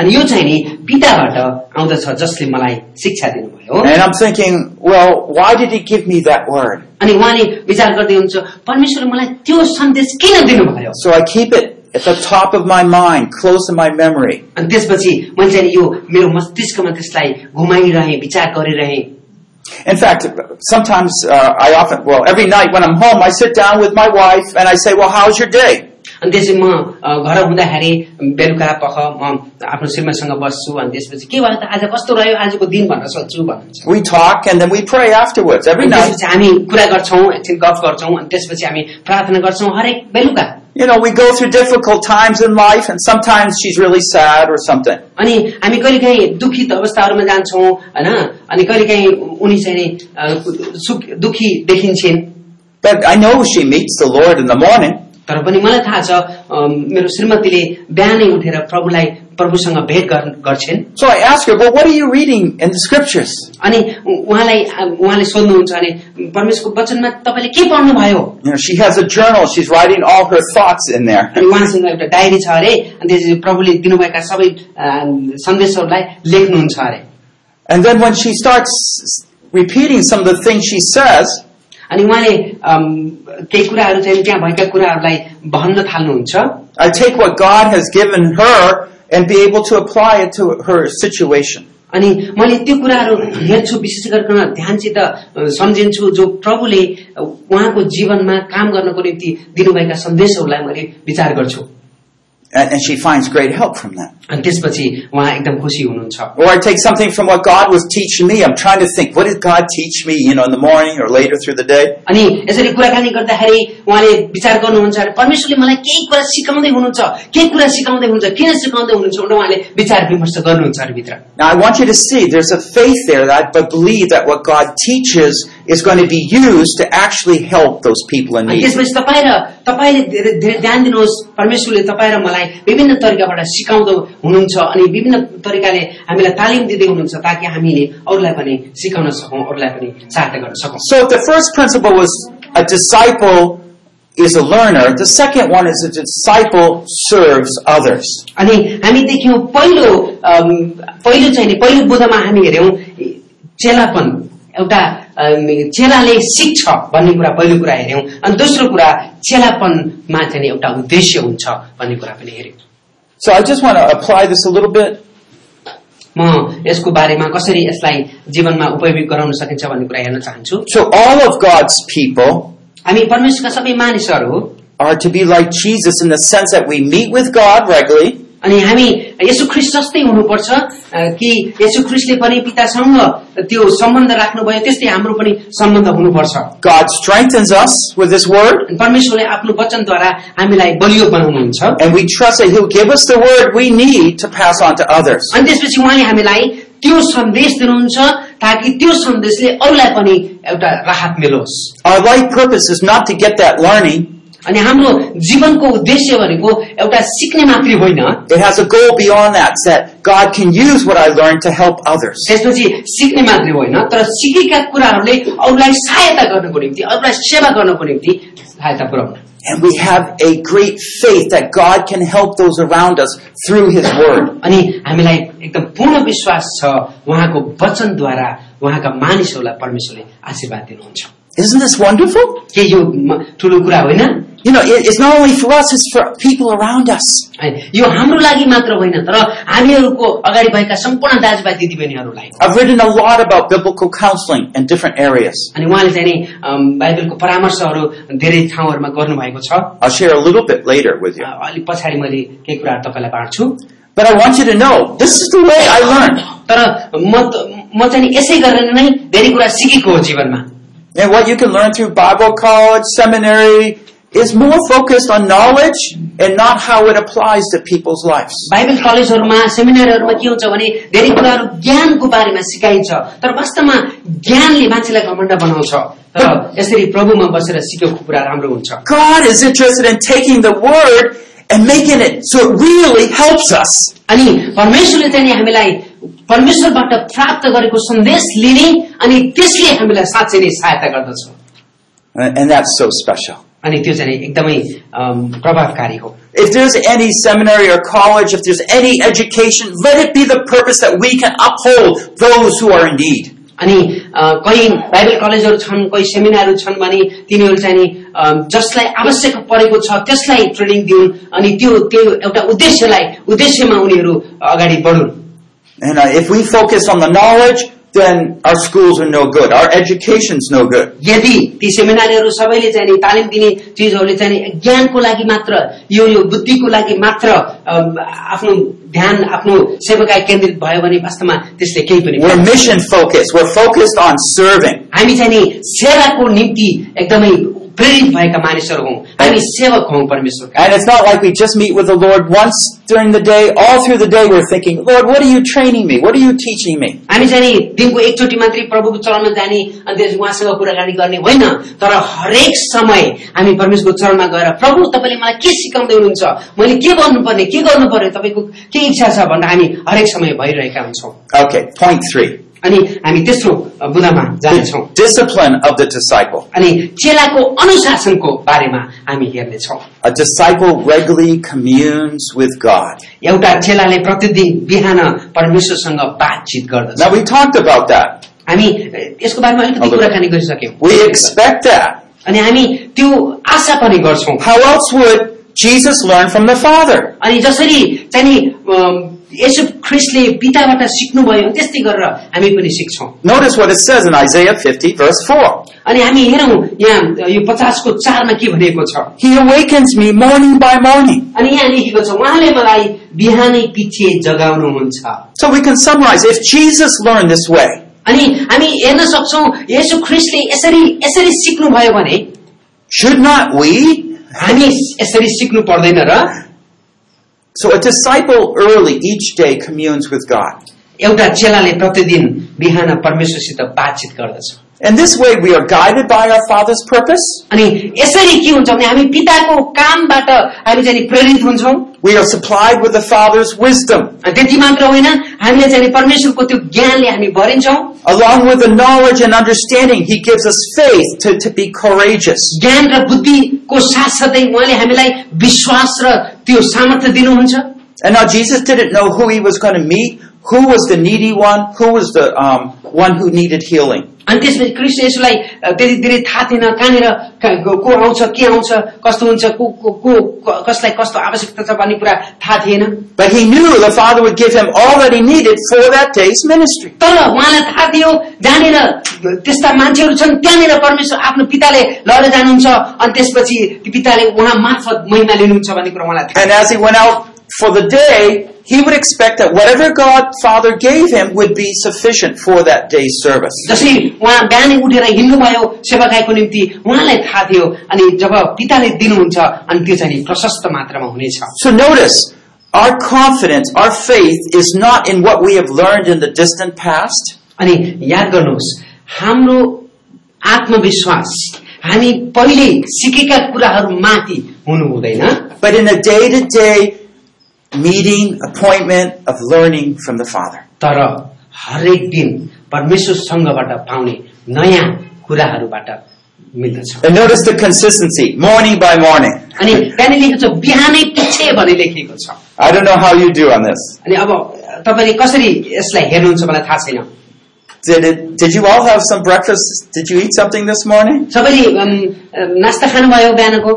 [SPEAKER 2] अनि यो चाहिँ नि पिताबाट आउँदछ जसले मलाई शिक्षा दिनुभयो
[SPEAKER 1] and I'm thinking, well, why did He give me that word?
[SPEAKER 2] अनि उहाँले विचार गर्दै हुन्छ परमेश्वर मलाई त्यो सन्देश किन दिनुभयो
[SPEAKER 1] So I keep it at the top of my mind, close in my memory.
[SPEAKER 2] अनि त्यसपछि मैले चाहिँ नि यो मेरो मस्तिष्कमा त्यसलाई घुमाइरहेँ विचार गरिरहेँ
[SPEAKER 1] In fact, sometimes uh, I often, well, every night when I'm home, I sit down with my wife and I say, well, how's your day?
[SPEAKER 2] अनि त्यसपछि म अ, घर हुँदाखेरि बेलुका पख म आफ्नो श्रीमासँग बस्छु अनि त्यसपछि के भयो त आज कस्तो रह्यो आजको दिन भनेर सोध्छु भन्नुहुन्छ
[SPEAKER 1] We talk and then we pray afterwards every
[SPEAKER 2] अनि
[SPEAKER 1] night.
[SPEAKER 2] त्यसपछि हामी कुरा गर्छौँ एकछिन गफ गर्छौँ अनि त्यसपछि हामी प्रार्थना गर्छौँ हरेक बेलुका
[SPEAKER 1] You know, we go through difficult times in life and sometimes she's really sad or something.
[SPEAKER 2] अनि हामी कहिलेकाहीँ दुखित अवस्थाहरूमा जान्छौँ होइन अनि कहिलेकाहीँ उनी चाहिँ नि, अ, सुख- दुखी देखिन्छन्
[SPEAKER 1] But I know she meets the Lord in the morning
[SPEAKER 2] तर पनि मलाई थाहा छ अम, मेरो श्रीमतीले बिहानै उठेर प्रभुलाई प्रभुसँग भेट गर्- गर्छिन्
[SPEAKER 1] So I ask her, well, what are you reading in the scriptures?
[SPEAKER 2] अनि उ- उहाँलाई अ, उहाँले सोध्नुहुन्छ अनि परमेश्वरको वचनमा तपाईँले के पढ्नुभयो
[SPEAKER 1] You know, she has a journal. She's writing all her thoughts in there.
[SPEAKER 2] अनि उहाँसँग एउटा डायरी छ अरे अनि त्यसपछि प्रभुले दिनुभएका सबै अ, सन्देशहरूलाई लेख्नुहुन्छ अरे
[SPEAKER 1] And then when she starts repeating some of the things she says,
[SPEAKER 2] अनि उहाँले अम, केही कुराहरू चाहिँ त्यहाँ भएका कुराहरूलाई भन्न थाल्नुहुन्छ
[SPEAKER 1] I take what God has given her and be able to apply it to her situation.
[SPEAKER 2] अनि मैले त्यो कुराहरू हेर्छु विशेष गरिकन ध्यानसित अ, सम्झिन्छु जो प्रभुले उहाँको जीवनमा काम गर्नको निम्ति दिनुभएका सन्देशहरूलाई मैले विचार गर्छु
[SPEAKER 1] And, and she finds great help from that.
[SPEAKER 2] अनि त्यसपछि उहाँ एकदम खुसी हुनुहुन्छ
[SPEAKER 1] Or I take something from what God was teaching me. I'm trying to think, what did God teach me, you know, in the morning or later through the day?
[SPEAKER 2] अनि यसरी कुराकानी गर्दाखेरि उहाँले विचार गर्नुहुन्छ अरे परमेश्वरले मलाई केही कुरा सिकाउँदै हुनुहुन्छ केही कुरा सिकाउँदै हुनुहुन्छ किन सिकाउँदै हुनुहुन्छ भनेर उहाँले विचार विमर्श गर्नुहुन्छ अरे भित्र
[SPEAKER 1] Now I want you to see there's a faith there that I believe that what God teaches is going to be used to actually help those people in
[SPEAKER 2] अनि
[SPEAKER 1] need.
[SPEAKER 2] त्यसपछि तपाईँ र तपाईँले धेरै धेरै ध्यान दिनुहोस् परमेश्वरले तपाईँ र मलाई विभिन्न तरिकाबाट सिकाउँदो हुनुहुन्छ अनि विभिन्न तरिकाले हामीलाई तालिम दिँदै हुनुहुन्छ ताकि हामीले अरूलाई पनि सिकाउन सकौँ अरूलाई पनि सहायता गर्न सकौँ
[SPEAKER 1] So if the first principle was a disciple is a learner, the second one is a disciple serves others.
[SPEAKER 2] अनि हामी देख्यौँ पहिलो अम, पहिलो चाहिँ नि पहिलो बुधमा हामी हेऱ्यौँ चेलापन एउटा अम, चेलाले सिक्छ भन्ने कुरा पहिलो कुरा हेऱ्यौँ अनि दोस्रो कुरा चेलापनमा चाहिँ नि एउटा उद्देश्य हुन्छ भन्ने कुरा पनि हेऱ्यौँ
[SPEAKER 1] So I just want to apply this a little bit.
[SPEAKER 2] म यसको बारेमा कसरी यसलाई जीवनमा उपयोग गराउन सकिन्छ भन्ने कुरा हेर्न चाहन्छु
[SPEAKER 1] So all of God's people
[SPEAKER 2] हामी परमेश्वरका सबै मानिसहरू हो
[SPEAKER 1] are to be like Jesus in the sense that we meet with God regularly,
[SPEAKER 2] अनि हामी यसु ख्रिस्ट जस्तै हुनुपर्छ अ, कि यसु ख्रिस्टले पनि पितासँग त्यो सम्बन्ध राख्नुभयो त्यस्तै हाम्रो पनि सम्बन्ध हुनुपर्छ
[SPEAKER 1] God strengthens us with His Word,
[SPEAKER 2] अनि परमेश्वरले आफ्नो वचनद्वारा हामीलाई बलियो बनाउनुहुन्छ
[SPEAKER 1] and we trust that He'll give us the Word we need to pass on to others.
[SPEAKER 2] अनि त्यसपछि उहाँले हामीलाई त्यो सन्देश दिनुहुन्छ ताकि त्यो सन्देशले अरूलाई पनि एउटा राहत मिलोस्
[SPEAKER 1] Our life purpose is not to get that learning,
[SPEAKER 2] अनि हाम्रो जीवनको उद्देश्य भनेको एउटा सिक्ने मात्रै होइन
[SPEAKER 1] it has a goal beyond that, it's that God can use what I learned to help others.
[SPEAKER 2] त्यसपछि सिक्ने मात्रै होइन तर सिकेका कुराहरूले अरूलाई सहायता गर्नको निम्ति अरूलाई सेवा गर्नको निम्ति सहायता पुर्याउन
[SPEAKER 1] And we have a great faith that God can help those around us through His Word.
[SPEAKER 2] अनि हामीलाई एकदम पूर्ण विश्वास छ उहाँको वचनद्वारा उहाँका मानिसहरूलाई परमेश्वरले आशीर्वाद दिनुहुन्छ
[SPEAKER 1] Isn't this wonderful?
[SPEAKER 2] के यो म- ठुलो कुरा होइन
[SPEAKER 1] You know, it- it's not only for us, it's for people around us.
[SPEAKER 2] अनि यो हाम्रो लागि मात्र होइन तर हामीहरूको अगाडि भएका सम्पूर्ण दाजुभाइ दिदीबहिनीहरूलाई
[SPEAKER 1] I've written a lot about biblical counseling in different areas.
[SPEAKER 2] अनि उहाँले चाहिँ नि अम, बाइबलको परामर्शहरू धेरै ठाउँहरूमा गर्नुभएको छ
[SPEAKER 1] I'll share a little bit later with
[SPEAKER 2] a,
[SPEAKER 1] you.
[SPEAKER 2] अलिक पछाडि मैले केही कुराहरू तपाईँलाई बाँड्छु
[SPEAKER 1] But I want you to know this is the way I learned.
[SPEAKER 2] तर म त- म चाहिँ नि यसै गरेर नै धेरै कुरा सिकेको हो जीवनमा
[SPEAKER 1] And what you can learn through Bible college, seminary, is more focused on knowledge and not how it applies to people's lives.
[SPEAKER 2] Bible कलेजहरूमा सेमिनारहरूमा के हुन्छ भने धेरै कुराहरू ज्ञानको बारेमा सिकाइन्छ तर वास्तवमा ज्ञानले मान्छेलाई घमण्ड बनाउँछ तर यसरी प्रभुमा बसेर सिकेको कुरा राम्रो हुन्छ
[SPEAKER 1] God is interested in taking the word and making it so it really helps us.
[SPEAKER 2] अनि परमेश्वरले चाहिँ नि हामीलाई परमेश्वरबाट प्राप्त गरेको सन्देश लिने अनि त्यसले हामीलाई साँच्चै नै सहायता गर्दछ
[SPEAKER 1] And and that's so special.
[SPEAKER 2] अनि त्यो चाहिँ नि एकदमै अम, प्रभावकारी हो
[SPEAKER 1] If there's any seminary or college, if there's any education, let it be the purpose that we can uphold those who are in need.
[SPEAKER 2] अनि अ, कहीँ बाइबल कलेजहरू छन् कोही सेमिनारहरू छन् भने तिनीहरू चाहिँ नि अ, जसलाई आवश्यक परेको छ त्यसलाई ट्रेनिङ दिउन् अनि त्यो त्यो एउटा उद्देश्यलाई उद्देश्यमा उनीहरू अगाडि बढुन्
[SPEAKER 1] And uh, if we focus on the knowledge, then our schools are no good. Our education's no good.
[SPEAKER 2] यदि ती सेमिनारहरू सबैले चाहिँ नि तालिम दिने चिजहरूले चाहिँ नि ज्ञानको लागि मात्र यो यो बुद्धिको लागि मात्र अ, आफ्नो ध्यान आफ्नो सेवाकाई केन्द्रित भयो भने वास्तवमा त्यसले केही पनि
[SPEAKER 1] We're mission focused. We're focused on serving.
[SPEAKER 2] हामी चाहिँ नि सेवाको निम्ति एकदमै प्रेरित भएका मानिसहरू हौ हामी सेवक हौ परमेश्वरका
[SPEAKER 1] And it's not like we just meet with the Lord once during the day. All through the day, we're thinking, Lord, what are you training me? What are you teaching me?
[SPEAKER 2] हामी चाहिँ नि दिनको एकचोटि मात्रै प्रभुको चरणमा जाने अनि त्यस उहाँसँग कुराकानी गर्ने होइन तर हरेक समय हामी परमेश्वरको चरणमा गएर प्रभु तपाईँले मलाई के सिकाउँदै हुनुहुन्छ मैले के गर्नुपर्ने के गर्नु पर्यो तपाईँको के इच्छा छ भनेर हामी हरेक समय भइरहेका हुन्छौँ
[SPEAKER 1] Okay, point three.
[SPEAKER 2] अनि हामी तेस्रो बुदामा जानेछौँ
[SPEAKER 1] The discipline of the disciple.
[SPEAKER 2] अनि चेलाको अनुशासनको बारेमा हामी हेर्नेछौँ
[SPEAKER 1] A disciple regularly communes with God.
[SPEAKER 2] एउटा चेलाले प्रतिदिन बिहान परमेश्वरसँग बातचित गर्दछ
[SPEAKER 1] Now, we talked about that.
[SPEAKER 2] हामी यसको बारेमा अलिकति कुराकानी गरिसक्यौँ
[SPEAKER 1] We expect that.
[SPEAKER 2] अनि हामी त्यो आशा पनि गर्छौँ
[SPEAKER 1] How else would Jesus learn from the Father?
[SPEAKER 2] अनि जसरी चाहिँ नि अम, यसो ख्रिस्टले पिताबाट सिक्नुभयो त्यस्तै गरेर हामी पनि सिक्छौँ
[SPEAKER 1] Notice what it says in Isaiah 50, verse 4.
[SPEAKER 2] अनि हामी हेरौँ यहाँ यो पचासको चारमा के भनेको छ
[SPEAKER 1] He awakens me morning by morning.
[SPEAKER 2] अनि यहाँ लेखेको छ उहाँले मलाई बिहानै पछि जगाउनुहुन्छ
[SPEAKER 1] So we can summarize if Jesus learned this way,
[SPEAKER 2] अनि हामी हेर्न सक्छौ यसो ख्रिस्टले यसरी यसरी सिक्नुभयो भने
[SPEAKER 1] should not we?
[SPEAKER 2] हामी यसरी सिक्नु पर्दैन र
[SPEAKER 1] So a disciple early each day communes with God.
[SPEAKER 2] एउटा चेलाले प्रतिदिन बिहान परमेश्वरसित बातचित गर्दछ
[SPEAKER 1] And this way we are guided by our Father's purpose.
[SPEAKER 2] अनि यसरी के हुन्छ भने हामी पिताको कामबाट हामी चाहिँ नि प्रेरित हुन्छौँ
[SPEAKER 1] We are supplied with the Father's wisdom,
[SPEAKER 2] अनि त्यति मात्र होइन हामीले चाहिँ नि परमेश्वरको त्यो ज्ञानले हामी भरिन्छौँ
[SPEAKER 1] along with the knowledge and understanding. He gives us faith to, to be courageous.
[SPEAKER 2] ज्ञान र बुद्धिको साथसाथै उहाँले हामीलाई विश्वास र त्यो सामर्थ्य दिनुहुन्छ
[SPEAKER 1] And now Jesus didn't know who he was going to meet, who was the needy one, who was the um, one who needed healing.
[SPEAKER 2] अनि त्यसपछि कृष्ण यसोलाई अ, त्यति धेरै थाहा थिएन कहाँनिर क- को को आउँछ के आउँछ कस्तो हुन्छ को को- को- क- कसलाई कस्तो आवश्यकता छ भन्ने कुरा थाहा थिएन
[SPEAKER 1] But he knew the Father would give him all that he needed for that day's ministry.
[SPEAKER 2] तर उहाँलाई थाहा थियो जहाँनिर त्यस्ता मान्छेहरू छन् त्यहाँनिर परमेश्वर आफ्नो पिताले लडेर जानुहुन्छ अनि त्यसपछि ती पिताले उहाँ मार्फत महिमा लिनुहुन्छ भन्ने कुरा उहाँलाई थाहा
[SPEAKER 1] And as he went out for the day, he would expect that whatever God Father gave him would be sufficient for that day's service.
[SPEAKER 2] जसरी उहाँ बिहानै उठेर हिँड्नुभयो सेवाकाईको निम्ति उहाँलाई थाहा थियो अनि जब पिताले दिनुहुन्छ अनि त्यो चाहिँ नि प्रशस्त मात्रामा हुनेछ
[SPEAKER 1] So notice, our confidence, our faith is not in what we have learned in the distant past,
[SPEAKER 2] अनि याद गर्नुहोस् हाम्रो आत्मविश्वास हामी पहिले सिकेका कुराहरूमाथि हुनु हुँदैन
[SPEAKER 1] but in a day to day meeting, appointment of learning from the Father.
[SPEAKER 2] तर हरेक दिन परमेश्वर सङ्घबाट पाउने नयाँ कुराहरूबाट मिल्दछ
[SPEAKER 1] And notice the consistency, morning by morning.
[SPEAKER 2] अनि त्यहाँनिर लेखेको छ बिहानै पछि भने लेखिएको छ
[SPEAKER 1] I don't know how you do on this.
[SPEAKER 2] अनि अब तपाईँले कसरी यसलाई हेर्नुहुन्छ मलाई थाहा छैन
[SPEAKER 1] Did it, did you all have some breakfast? Did you eat something this morning?
[SPEAKER 2] सबैले अम, अम, नास्ता खानुभयो बिहानको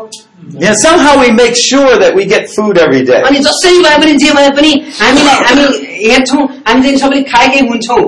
[SPEAKER 1] Yeah, somehow we make sure that we get food every day.
[SPEAKER 2] अनि जसरी भए पनि जे भए पनि हामीलाई हामी हेर्छौँ हामी चाहिँ सबैले खाएकै हुन्छौँ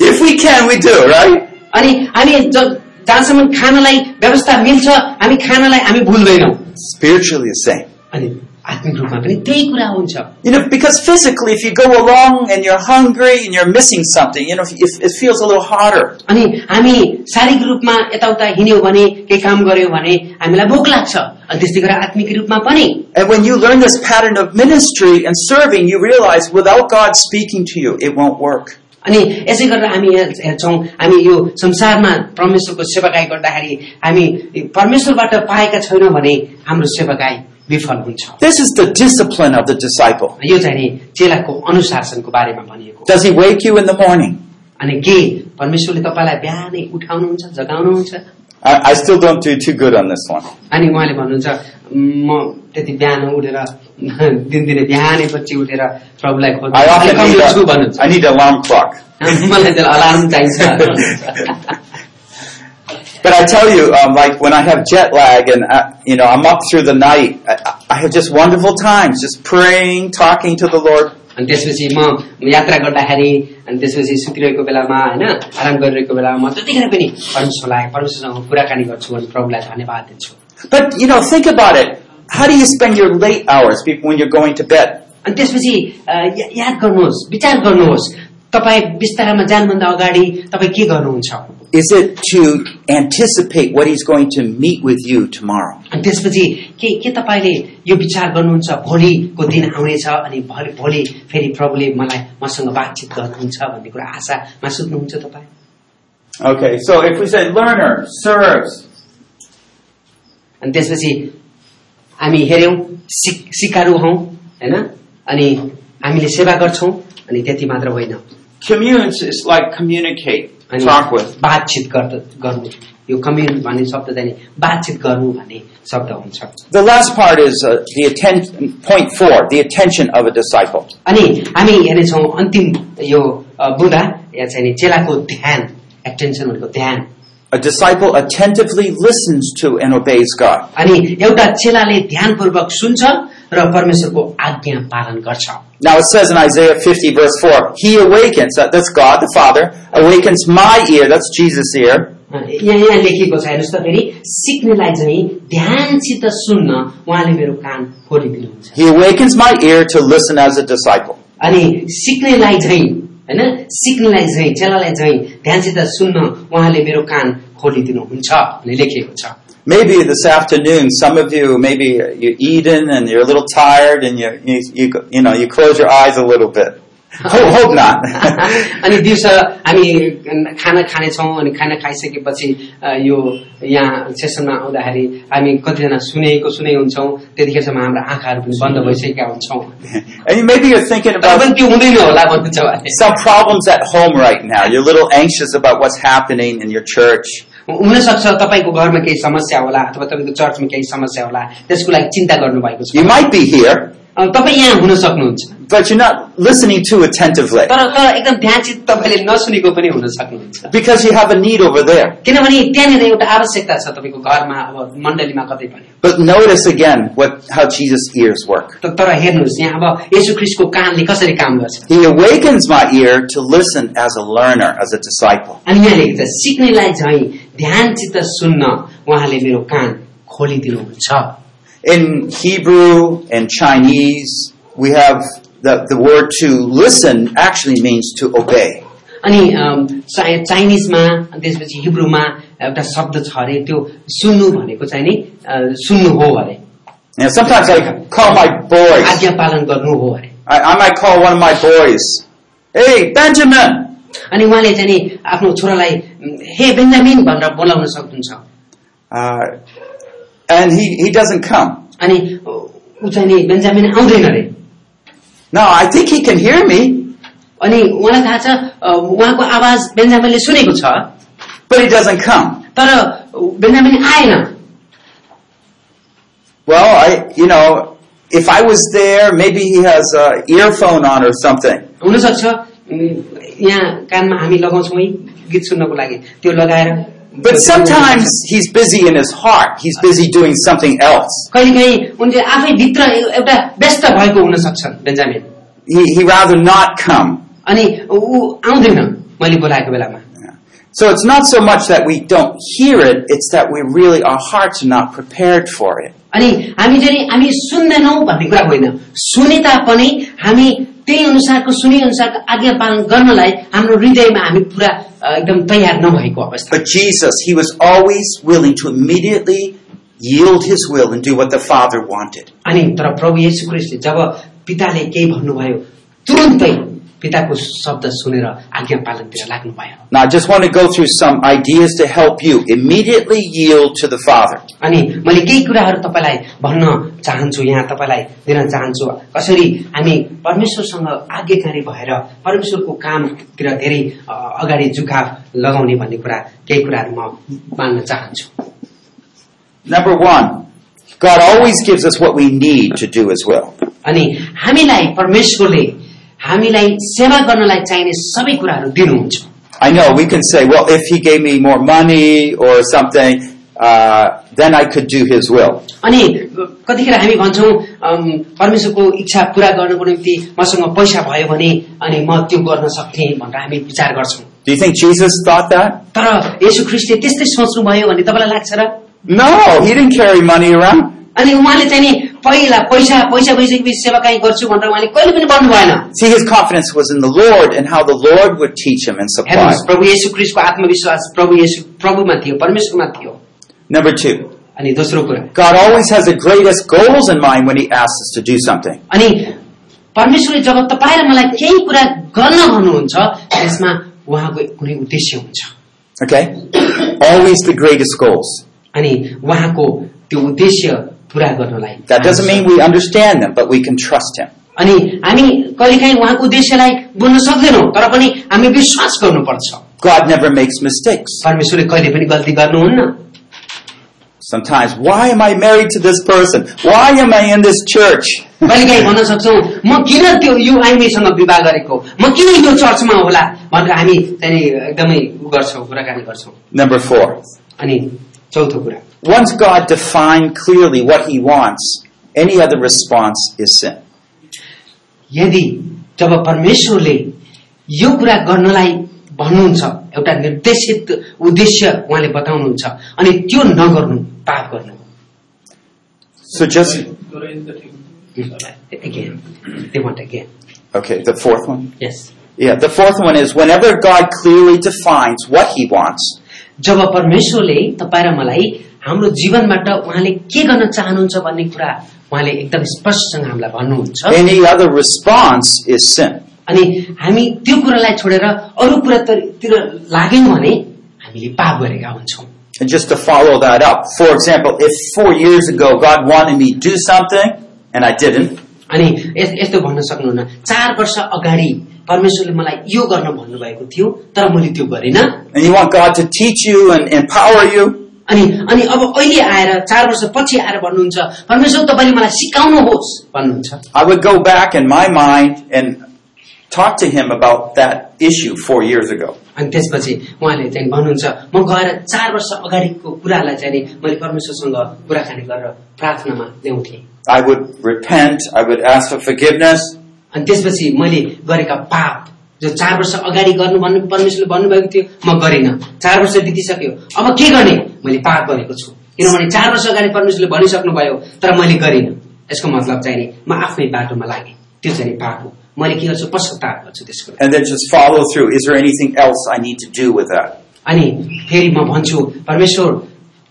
[SPEAKER 1] If we can, we do, right?
[SPEAKER 2] अनि हामी ज- जहाँसम्म खानालाई व्यवस्था मिल्छ हामी खानालाई हामी भुल्दैनौँ
[SPEAKER 1] Spiritually the same.
[SPEAKER 2] अनि आत्मिक रूपमा पनि त्यही कुरा हुन्छ
[SPEAKER 1] You know, because physically, if you go along and you're hungry and you're missing something, you know, if, if it feels a little harder.
[SPEAKER 2] अनि हामी शारीरिक रूपमा यताउता हिँड्यौँ भने केही काम गर्यौँ भने हामीलाई भोक लाग्छ अनि त्यस्तै गरेर आत्मिक रूपमा पनि
[SPEAKER 1] And when you learn this pattern of ministry and serving, you realize without God speaking to you, it won't work.
[SPEAKER 2] अनि यसै गरेर हामी हेर- हेर्छौं हामी यो संसारमा परमेश्वरको सेवाकाई गर्दाखेरि हामी परमेश्वरबाट पाएका छैनौँ भने हाम्रो सेवाकाई विफल हुन्छ
[SPEAKER 1] This is the discipline of the disciple.
[SPEAKER 2] यो चाहिँ नि चेलाको अनुशासनको बारेमा भनिएको
[SPEAKER 1] Does he wake you in the morning?
[SPEAKER 2] अनि के परमेश्वरले तपाईँलाई बिहानै उठाउनुहुन्छ जगाउनुहुन्छ
[SPEAKER 1] I, I still don't do too good on this one.
[SPEAKER 2] अनि उहाँले भन्नुहुन्छ म त्यति बिहान उठेर दिनदिनै बिहानै पछि उठेर प्रभुलाई खोज्छु
[SPEAKER 1] I
[SPEAKER 2] अलिक
[SPEAKER 1] often
[SPEAKER 2] कम
[SPEAKER 1] need
[SPEAKER 2] गर्छु
[SPEAKER 1] a,
[SPEAKER 2] भन्नुहुन्छ
[SPEAKER 1] I need an alarm clock.
[SPEAKER 2] मलाई त्यसलाई अलार्म चाहिन्छ
[SPEAKER 1] But I tell you, um, like when I have jet lag and I, you know I'm up through the night, I, I have just wonderful times, just praying, talking to the Lord.
[SPEAKER 2] अनि त्यसपछि म यात्रा गर्दाखेरि अनि त्यसपछि सुतिरहेको बेलामा होइन आराम गरिरहेको बेलामा म जतिखेर पनि परमेश्वरलाई परमेश्वरसँग कुराकानी गर्छु अनि प्रभुलाई धन्यवाद दिन्छु
[SPEAKER 1] But you know, think about it. How do you spend your late hours be- when you're going to bed?
[SPEAKER 2] अनि त्यसपछि अ, या- याद गर्नुहोस् विचार गर्नुहोस् तपाईँ बिस्तारामा जानुभन्दा अगाडि तपाईँ के गर्नुहुन्छ
[SPEAKER 1] Is it to anticipate what He's going to meet with you tomorrow?
[SPEAKER 2] अनि त्यसपछि के के तपाईँले यो विचार गर्नुहुन्छ भोलिको दिन आउनेछ अनि भोलि भोलि फेरि प्रभुले मलाई मसँग बातचित गर्नुहुन्छ भन्ने कुरा आशामा सुत्नुहुन्छ तपाईँ
[SPEAKER 1] Okay, so if we say learner serves,
[SPEAKER 2] अनि त्यसपछि हामी हेऱ्यौँ सिक सिकारु हौ होइन अनि हामीले सेवा गर्छौँ अनि त्यति मात्र होइन
[SPEAKER 1] communes is like communicate,
[SPEAKER 2] अनि
[SPEAKER 1] talk with.
[SPEAKER 2] बातचित गर्द- गर्नु यो कम्युन भन्ने शब्द चाहिँ बातचित गर्नु भन्ने शब्द हुन्छ
[SPEAKER 1] The last part is uh, the atten- point four, the attention of a disciple.
[SPEAKER 2] अनि हामी हेर्नेछौँ अन्तिम यो अ, बुधा या चाहिँ नि चेलाको ध्यान एटेन्सन भनेको ध्यान
[SPEAKER 1] A disciple attentively listens to and obeys God.
[SPEAKER 2] अनि एउटा चेलाले ध्यानपूर्वक सुन्छ र परमेश्वरको आज्ञा पालन गर्छ
[SPEAKER 1] Now it says in Isaiah 50, verse 4, He awakens, that- that's God the Father, awakens my ear, that's Jesus' ear,
[SPEAKER 2] यहाँ यहाँ लेखिएको छ हेर्नुहोस् त फेरि सिक्नेलाई चाहिँ ध्यानसित सुन्न उहाँले मेरो कान खोलिदिनुहुन्छ
[SPEAKER 1] He awakens my ear to listen as a disciple.
[SPEAKER 2] अनि सिक्नेलाई चाहिँ होइन सिक्नेलाई चाहिँ चेलालाई चाहिँ ध्यानसित सुन्न उहाँले मेरो कान खोलिदिनुहुन्छ भन्ने लेखिएको छ
[SPEAKER 1] Maybe this afternoon, some of you, maybe you're eating and you're a little tired and you, you, you, you know, you close your eyes a little bit. Hope, hope not.
[SPEAKER 2] अनि दिउँसो हामी खाना खानेछौँ अनि खाना खाइसकेपछि अ, यो यहाँ सेसनमा आउँदाखेरि हामी कतिजना सुनेको सुने हुन्छौँ त्यतिखेरसम्म हाम्रो आँखाहरू पनि बन्द भइसकेका हुन्छौँ
[SPEAKER 1] and you- maybe you're thinking
[SPEAKER 2] तर पनि
[SPEAKER 1] about
[SPEAKER 2] त्यो हुँदैन होला भन्नुहुन्छ उहाँले।
[SPEAKER 1] some problems at home right now. You're a little anxious about what's happening in your church.
[SPEAKER 2] हुनसक्छ तपाईँको घरमा केही समस्या होला अथवा तपाईँको चर्चमा केही समस्या होला त्यसको लागि चिन्ता गर्नुभएको छ
[SPEAKER 1] You might be here,
[SPEAKER 2] अ, तपाईँ यहाँ हुन सक्नुहुन्छ
[SPEAKER 1] but you're not listening too attentively
[SPEAKER 2] तर तर एकदम ध्यानचित तपाईँले नसुनेको पनि हुन सक्नुहुन्छ
[SPEAKER 1] because you have a need over there.
[SPEAKER 2] किनभने त्यहाँनिर एउटा आवश्यकता छ तपाईँको घरमा अब मण्डलीमा कतै पनि
[SPEAKER 1] But notice again what, how Jesus' ears work.
[SPEAKER 2] त- तर हेर्नुहोस् यहाँ अब यसु क्रिस्टको कानले कसरी काम गर्छ
[SPEAKER 1] He awakens my ear to listen as a learner, as a disciple.
[SPEAKER 2] अनि यहाँ लेखेको छ सिक्नेलाई झैँ ध्यानचित सुन्न उहाँले मेरो कान खोलिदिनुहुन्छ
[SPEAKER 1] In Hebrew and Chinese, we have the, the word to listen actually means to obey.
[SPEAKER 2] अनि अम, चा- चाइनिजमा अनि त्यसपछि हिब्रूमा एउटा शब्द छ अरे त्यो सुन्नु भनेको चाहिँ नि अ, सुन्नु हो अरे
[SPEAKER 1] Now, sometimes I call my boys,
[SPEAKER 2] आज्ञा पालन गर्नु हो अरे
[SPEAKER 1] I, I might call one of my boys, hey, Benjamin!
[SPEAKER 2] अनि उहाँले चाहिँ नि आफ्नो छोरालाई "उम्, हे बेन्जामिन भनेर बोलाउन सक्नुहुन्छ
[SPEAKER 1] Uh, and he, he doesn't come.
[SPEAKER 2] अनि ऊ चाहिँ नि बेन्जामिन आउँदैन अरे
[SPEAKER 1] No, I think he can hear me,
[SPEAKER 2] अनि उहाँलाई थाहा छ अ, उहाँको आवाज बेन्जामिनले सुनेको छ
[SPEAKER 1] but he doesn't come.
[SPEAKER 2] तर बेन्जामिन आएन
[SPEAKER 1] Well, I, you know, if I was there, maybe he has a earphone on or something.
[SPEAKER 2] हुनसक्छ उम्, यहाँ कानमा हामी लगाउँछौँ है गीत सुन्नको लागि त्यो लगाएर
[SPEAKER 1] But sometimes he's busy in his heart. He's busy doing something else.
[SPEAKER 2] कहिलेकाहीँ उनले आफैभित्र ए- एउटा व्यस्त भएको हुन सक्छन् Benjamin
[SPEAKER 1] He, he rather not come.
[SPEAKER 2] अनि ऊ आउँदैन मैले बोलाएको बेलामा
[SPEAKER 1] So it's not so much that we don't hear it, it's that we really, our hearts are not prepared for it.
[SPEAKER 2] अनि हामी चाहिँ नि- हामी सुन्दैनौँ भन्ने कुरा होइन सुने तापनि हामी त्यही अनुसारको सुने अनुसारको आज्ञा पालन गर्नलाई हाम्रो हृदयमा हामी पुरा अ, एकदम तयार नभएको अवस्था
[SPEAKER 1] But Jesus, he was always willing to immediately yield his will and do what the Father wanted.
[SPEAKER 2] अनि तर प्रभु येशू क्रिस्टले जब पिताले केही भन्नुभयो तुरन्तै पिताको शब्द सुनेर आज्ञा पालनतिर लाग्नुभयो
[SPEAKER 1] Now I just want to go through some ideas to help you immediately yield to the Father.
[SPEAKER 2] अनि मैले केही कुराहरू तपाईँलाई भन्न चाहन्छु यहाँ तपाईँलाई दिन चाहन्छु कसरी हामी परमेश्वरसँग आज्ञाकारी भएर परमेश्वरको कामतिर धेरै अ, अगाडि जुकाफ लगाउने भन्ने कुरा केही कुराहरू म मान्न चाहन्छु
[SPEAKER 1] Number one, God always gives us what we need to do his will.
[SPEAKER 2] अनि हामीलाई परमेश्वरले हामीलाई सेवा गर्नलाई चाहिने सबै कुराहरू दिनुहुन्छ
[SPEAKER 1] I know we can say, well, if he gave me more money or something, uh, then I could do his will.
[SPEAKER 2] अनि कतिखेर हामी भन्छौँ अम, परमेश्वरको इच्छा पूरा गर्नको निम्ति मसँग पैसा भयो भने अनि म त्यो गर्न सक्थेँ भनेर हामी विचार गर्छौँ
[SPEAKER 1] Do you think Jesus thought that?
[SPEAKER 2] तर यसु ख्रिस्टले त्यस्तै सोच्नुभयो भन्ने तपाईँलाई लाग्छ र
[SPEAKER 1] No, he didn't carry money around.
[SPEAKER 2] अनि उहाँले चाहिँ नि पहिला पैसा पैसा भइसकेपछि सेवा काहीँ गर्छु भनेर उहाँले कहिले पनि भन्नु भएन
[SPEAKER 1] See, his confidence was in the Lord and how the Lord would teach him and supply.
[SPEAKER 2] हेर्नुहोस् प्रभु येशु ख्रिस्टको आत्मविश्वास प्रभु येशु प्रभुमा थियो परमेश्वरमा थियो
[SPEAKER 1] Number two,
[SPEAKER 2] अनि दोस्रो कुरा
[SPEAKER 1] God always has the greatest goals in mind when he asks us to do something.
[SPEAKER 2] अनि परमेश्वरले जब तपाईँ र मलाई केही कुरा गर्न भन्नुहुन्छ त्यसमा उहाँको कुनै उद्देश्य हुन्छ
[SPEAKER 1] Okay? always the greatest goals.
[SPEAKER 2] अनि उहाँको त्यो उद्देश्य पूरा गर्नलाई
[SPEAKER 1] That doesn't mean we understand them, but we can trust him.
[SPEAKER 2] अनि हामी कहिलेकाहीँ उहाँको उद्देश्यलाई बुझ्न सक्दैनौँ तर पनि हामी विश्वास गर्नुपर्छ
[SPEAKER 1] God never makes mistakes.
[SPEAKER 2] परमेश्वरले कहिले पनि गल्ती गर्नुहुन्न
[SPEAKER 1] Sometimes, why am I married to this person? Why am I in this church?
[SPEAKER 2] कहिलेकाहीँ भन्न सक्छौ म किन त्यो यो आइमीसँग विवाह गरेको म किन यो चर्चमा होला भनेर हामी त्यहाँनिर एकदमै उ गर्छौँ कुराकानी गर्छौँ
[SPEAKER 1] Number four.
[SPEAKER 2] अनि चौथो कुरा
[SPEAKER 1] Once God defined clearly what he wants, Any other response is sin.
[SPEAKER 2] यदि जब परमेश्वरले यो कुरा गर्नलाई भन्नुहुन्छ एउटा निर्देशित उद्देश्य उहाँले बताउनुहुन्छ अनि त्यो नगर्नु पाप गर्नु हो।
[SPEAKER 1] So just
[SPEAKER 2] Again, they want again.
[SPEAKER 1] okay, the fourth one.
[SPEAKER 2] Yes.
[SPEAKER 1] Yeah, the fourth one is whenever God clearly defines what he wants,
[SPEAKER 2] जब परमेश्वरले तपाईँ र मलाई हाम्रो जीवनबाट उहाँले के गर्न चाहनुहुन्छ भन्ने कुरा उहाँले एकदम स्पष्टसँग हामीलाई भन्नुहुन्छ
[SPEAKER 1] any other response is sin.
[SPEAKER 2] अनि हामी त्यो कुरालाई छोडेर अरू कुरातिर लाग्यौँ भने हामीले पाप गरेका हुन्छौँ
[SPEAKER 1] And just to follow that up, for example, if four years ago God wanted me to do something and I didn't,
[SPEAKER 2] अनि यस- यस्तो भन्न सक्नुहुन्न चार वर्ष अगाडि परमेश्वरले मलाई यो गर्न भन्नुभएको थियो तर मैले त्यो गरिनँ
[SPEAKER 1] and you want God to teach you and empower you,
[SPEAKER 2] अनि अनि अब अहिले आएर चार वर्ष पछि आएर भन्नुहुन्छ परमेश्वर तपाईँले मलाई सिकाउनुहोस् भन्नुहुन्छ
[SPEAKER 1] I would go back in my mind and talk to him about that issue four years ago.
[SPEAKER 2] अनि त्यसपछि उहाँले चाहिँ भन्नुहुन्छ म गएर चार वर्ष अगाडिको कुरालाई चाहिँ नि मैले परमेश्वरसँग कुराकानी गरेर प्रार्थनामा ल्याउँथेँ
[SPEAKER 1] I would repent, I would ask for forgiveness,
[SPEAKER 2] अनि त्यसपछि मैले गरेका पाप जो चार वर्ष अगाडि गर्नु भन्नु परमेश्वरले भन्नुभएको थियो म गरिनँ चार वर्ष बितिसक्यो अब के गर्ने मैले पाप गरेको छु किनभने चार वर्ष अगाडि परमेश्वरले भनिसक्नुभयो तर मैले गरिनँ यसको मतलब चाहिँ नि म आफ्नै बाटोमा लागेँ त्यो चाहिँ नि पाप हो मैले के गर्छु पश्चाताप गर्छु त्यसको लागि।
[SPEAKER 1] and then just follow through. Is there anything else I need to do with that?
[SPEAKER 2] अनि फेरि म भन्छु परमेश्वर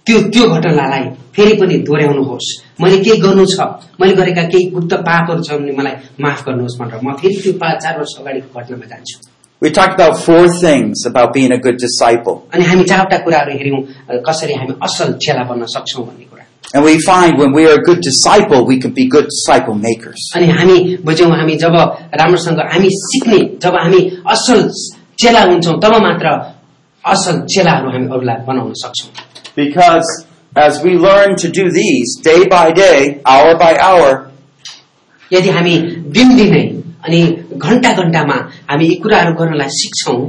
[SPEAKER 2] त्यो त्यो घटनालाई फेरि पनि दोहोऱ्याउनुहोस् मैले केही गर्नु छ मैले गरेका केही गुप्त पापहरू छ भने मलाई माफ गर्नुहोस् भनेर म फेरि त्यो पा चार वर्ष अगाडिको घटनामा जान्छु
[SPEAKER 1] We talked about four things about being a good disciple.
[SPEAKER 2] अनि हामी चारवटा कुराहरू हेऱ्यौँ अ, कसरी हामी असल चेला बन्न सक्छौँ भन्ने कुरा
[SPEAKER 1] And we find when we are a good disciple, we can be good disciple makers.
[SPEAKER 2] अनि हामी बुझ्यौँ हामी जब राम्रोसँग हामी सिक्ने जब हामी असल चेला हुन्छौँ तब मात्र असल चेलाहरू हामी अरूलाई बनाउन सक्छौँ
[SPEAKER 1] Because as we learn to do these day by day, hour by hour,
[SPEAKER 2] यदि हामी दिनदिनै अनि घन्टा घन्टामा हामी यी कुराहरू गर्नलाई सिक्छौँ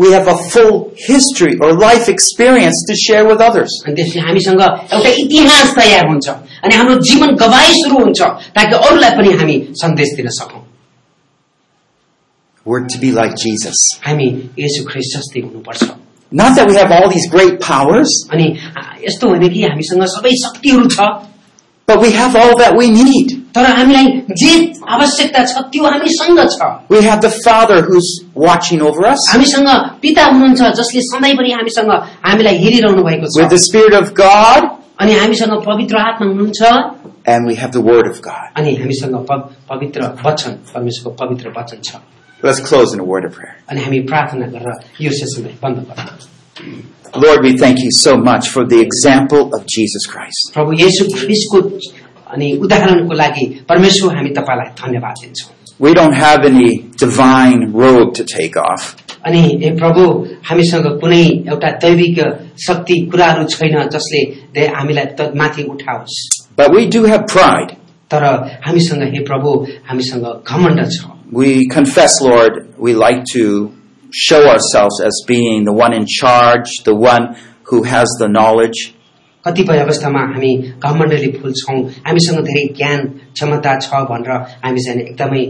[SPEAKER 1] we have a full history or life experience to share with others.
[SPEAKER 2] अनि त्यसले हामीसँग एउटा इतिहास तयार हुन्छ अनि हाम्रो जीवन गवाई सुरु हुन्छ ताकि अरूलाई पनि हामी सन्देश दिन सकौँ
[SPEAKER 1] We're to be like Jesus.
[SPEAKER 2] हामी यसो ख्रिस्ट जस्तै हुनुपर्छ
[SPEAKER 1] Not that we have all these great powers,
[SPEAKER 2] अनि आ, यस्तो होइन कि हामीसँग सबै शक्तिहरू छ
[SPEAKER 1] but we have all that we need.
[SPEAKER 2] तर हामीलाई जे आवश्यकता छ त्यो हामीसँग छ
[SPEAKER 1] We have the Father who's watching over us.
[SPEAKER 2] हामीसँग पिता हुनुहुन्छ जसले सधैँभरि हामीसँग हामीलाई हेरिरहनु भएको
[SPEAKER 1] with the
[SPEAKER 2] छ
[SPEAKER 1] Spirit of God,
[SPEAKER 2] अनि हामीसँग पवित्र आत्मा हुनुहुन्छ
[SPEAKER 1] and we have the Word of God.
[SPEAKER 2] अनि हामीसँग पव- पवित्र वचन परमेश्वरको पवित्र वचन छ
[SPEAKER 1] Let's close in a word of prayer.
[SPEAKER 2] अनि हामी प्रार्थना गरेर यो सेसनलाई बन्द गर्छौँ
[SPEAKER 1] Lord, we thank you so much for the example of Jesus Christ.
[SPEAKER 2] प्रभु येशू ख्रिस्टको अनि उदाहरणको लागि परमेश्वर हामी तपाईँलाई धन्यवाद दिन्छौँ
[SPEAKER 1] We don't have any divine robe to take off.
[SPEAKER 2] अनि हे प्रभु हामीसँग कुनै एउटा दैविक शक्ति कुराहरू छैन जसले दे- हामीलाई त- माथि उठाओस्
[SPEAKER 1] But we do have pride.
[SPEAKER 2] तर हामीसँग हे प्रभु हामीसँग घमण्ड छ
[SPEAKER 1] We confess, Lord, we like to show ourselves as being the one in charge, the one who has the knowledge.
[SPEAKER 2] कतिपय अवस्थामा हामी घमण्डले फुल्छौँ हामीसँग धेरै ज्ञान क्षमता छ भनेर हामी चाहिँ एकदमै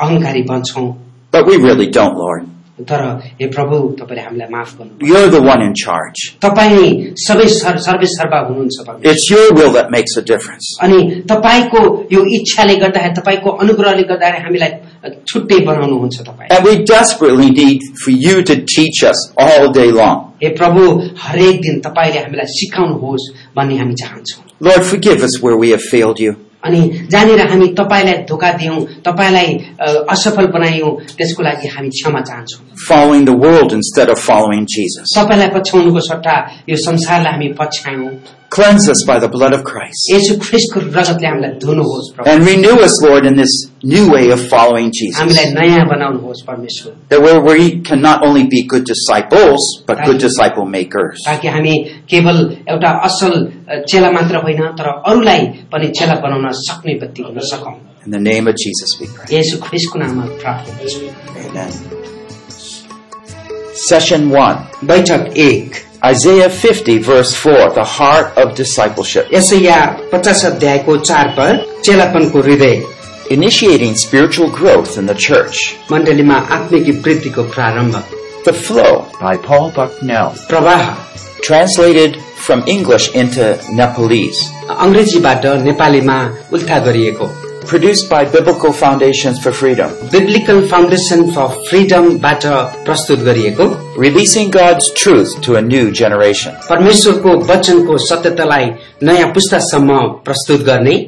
[SPEAKER 2] अहङ्कारी बन्छौँ
[SPEAKER 1] But we really don't, Lord.
[SPEAKER 2] तर हे प्रभु तपाईँले हामीलाई माफ गर्नु
[SPEAKER 1] You're the one in charge.
[SPEAKER 2] तपाईँ सबै सर, सर्वे सर्वा हुनुहुन्छ प्रभु।
[SPEAKER 1] It's your will that makes a difference.
[SPEAKER 2] अनि तपाईँको यो इच्छाले गर्दाखेरि तपाईँको अनुग्रहले गर्दाखेरि हामीलाई छुट्टै बनाउनुहुन्छ तपाईँ
[SPEAKER 1] And we desperately need for you to teach us all day long.
[SPEAKER 2] हे प्रभु हरेक दिन तपाईँले हामीलाई सिकाउनुहोस् भन्ने हामी चाहन्छौँ
[SPEAKER 1] Lord, forgive us where we have failed you.
[SPEAKER 2] अनि जहाँनिर हामी तपाईँलाई धोका दियौँ तपाईँलाई अ, असफल बनायौँ त्यसको लागि हामी क्षमा चाहन्छौँ
[SPEAKER 1] Following the world instead of following Jesus.
[SPEAKER 2] सबैलाई पछ्याउनुको सट्टा यो संसारलाई हामी पछ्यायौँ
[SPEAKER 1] Cleanse us by the blood of Christ.
[SPEAKER 2] यसो ख्रिस्टको रगतले हामीलाई धुनुहोस् प्रभु
[SPEAKER 1] And renew us, Lord, in this new way of following Jesus.
[SPEAKER 2] हामीलाई नयाँ बनाउनुहोस् परमेश्वर
[SPEAKER 1] That where we can not only be good disciples, but good disciple makers.
[SPEAKER 2] ताकि हामी केवल एउटा असल अ, चेला मात्र होइन तर अरूलाई पनि चेला बनाउन सक्ने व्यक्ति हुन सकौँ
[SPEAKER 1] In the name of Jesus we pray.
[SPEAKER 2] यसो ख्रिस्टको नाममा प्रार्थना गर्छु
[SPEAKER 1] Amen. Session one.
[SPEAKER 2] बैठक एक
[SPEAKER 1] Isaiah 50, verse 4, the heart of discipleship.
[SPEAKER 2] यसैया पचास अध्यायको चार पर चेलापनको हृदय
[SPEAKER 1] Initiating spiritual growth in the church.
[SPEAKER 2] मण्डलीमा आत्मिक वृद्धिको प्रारम्भ
[SPEAKER 1] The Flow by Paul Bucknell.
[SPEAKER 2] प्रवाह
[SPEAKER 1] Translated from English into Nepalese.
[SPEAKER 2] अङ्ग्रेजीबाट नेपालीमा उल्था गरिएको
[SPEAKER 1] Produced by Biblical Foundations for Freedom.
[SPEAKER 2] Biblical Foundation for फ्रिडमबाट प्रस्तुत गरिएको
[SPEAKER 1] Releasing God's truth to a new generation.
[SPEAKER 2] परमेश्वरको वचनको सत्यतालाई नयाँ पुस्तासम्म प्रस्तुत गर्ने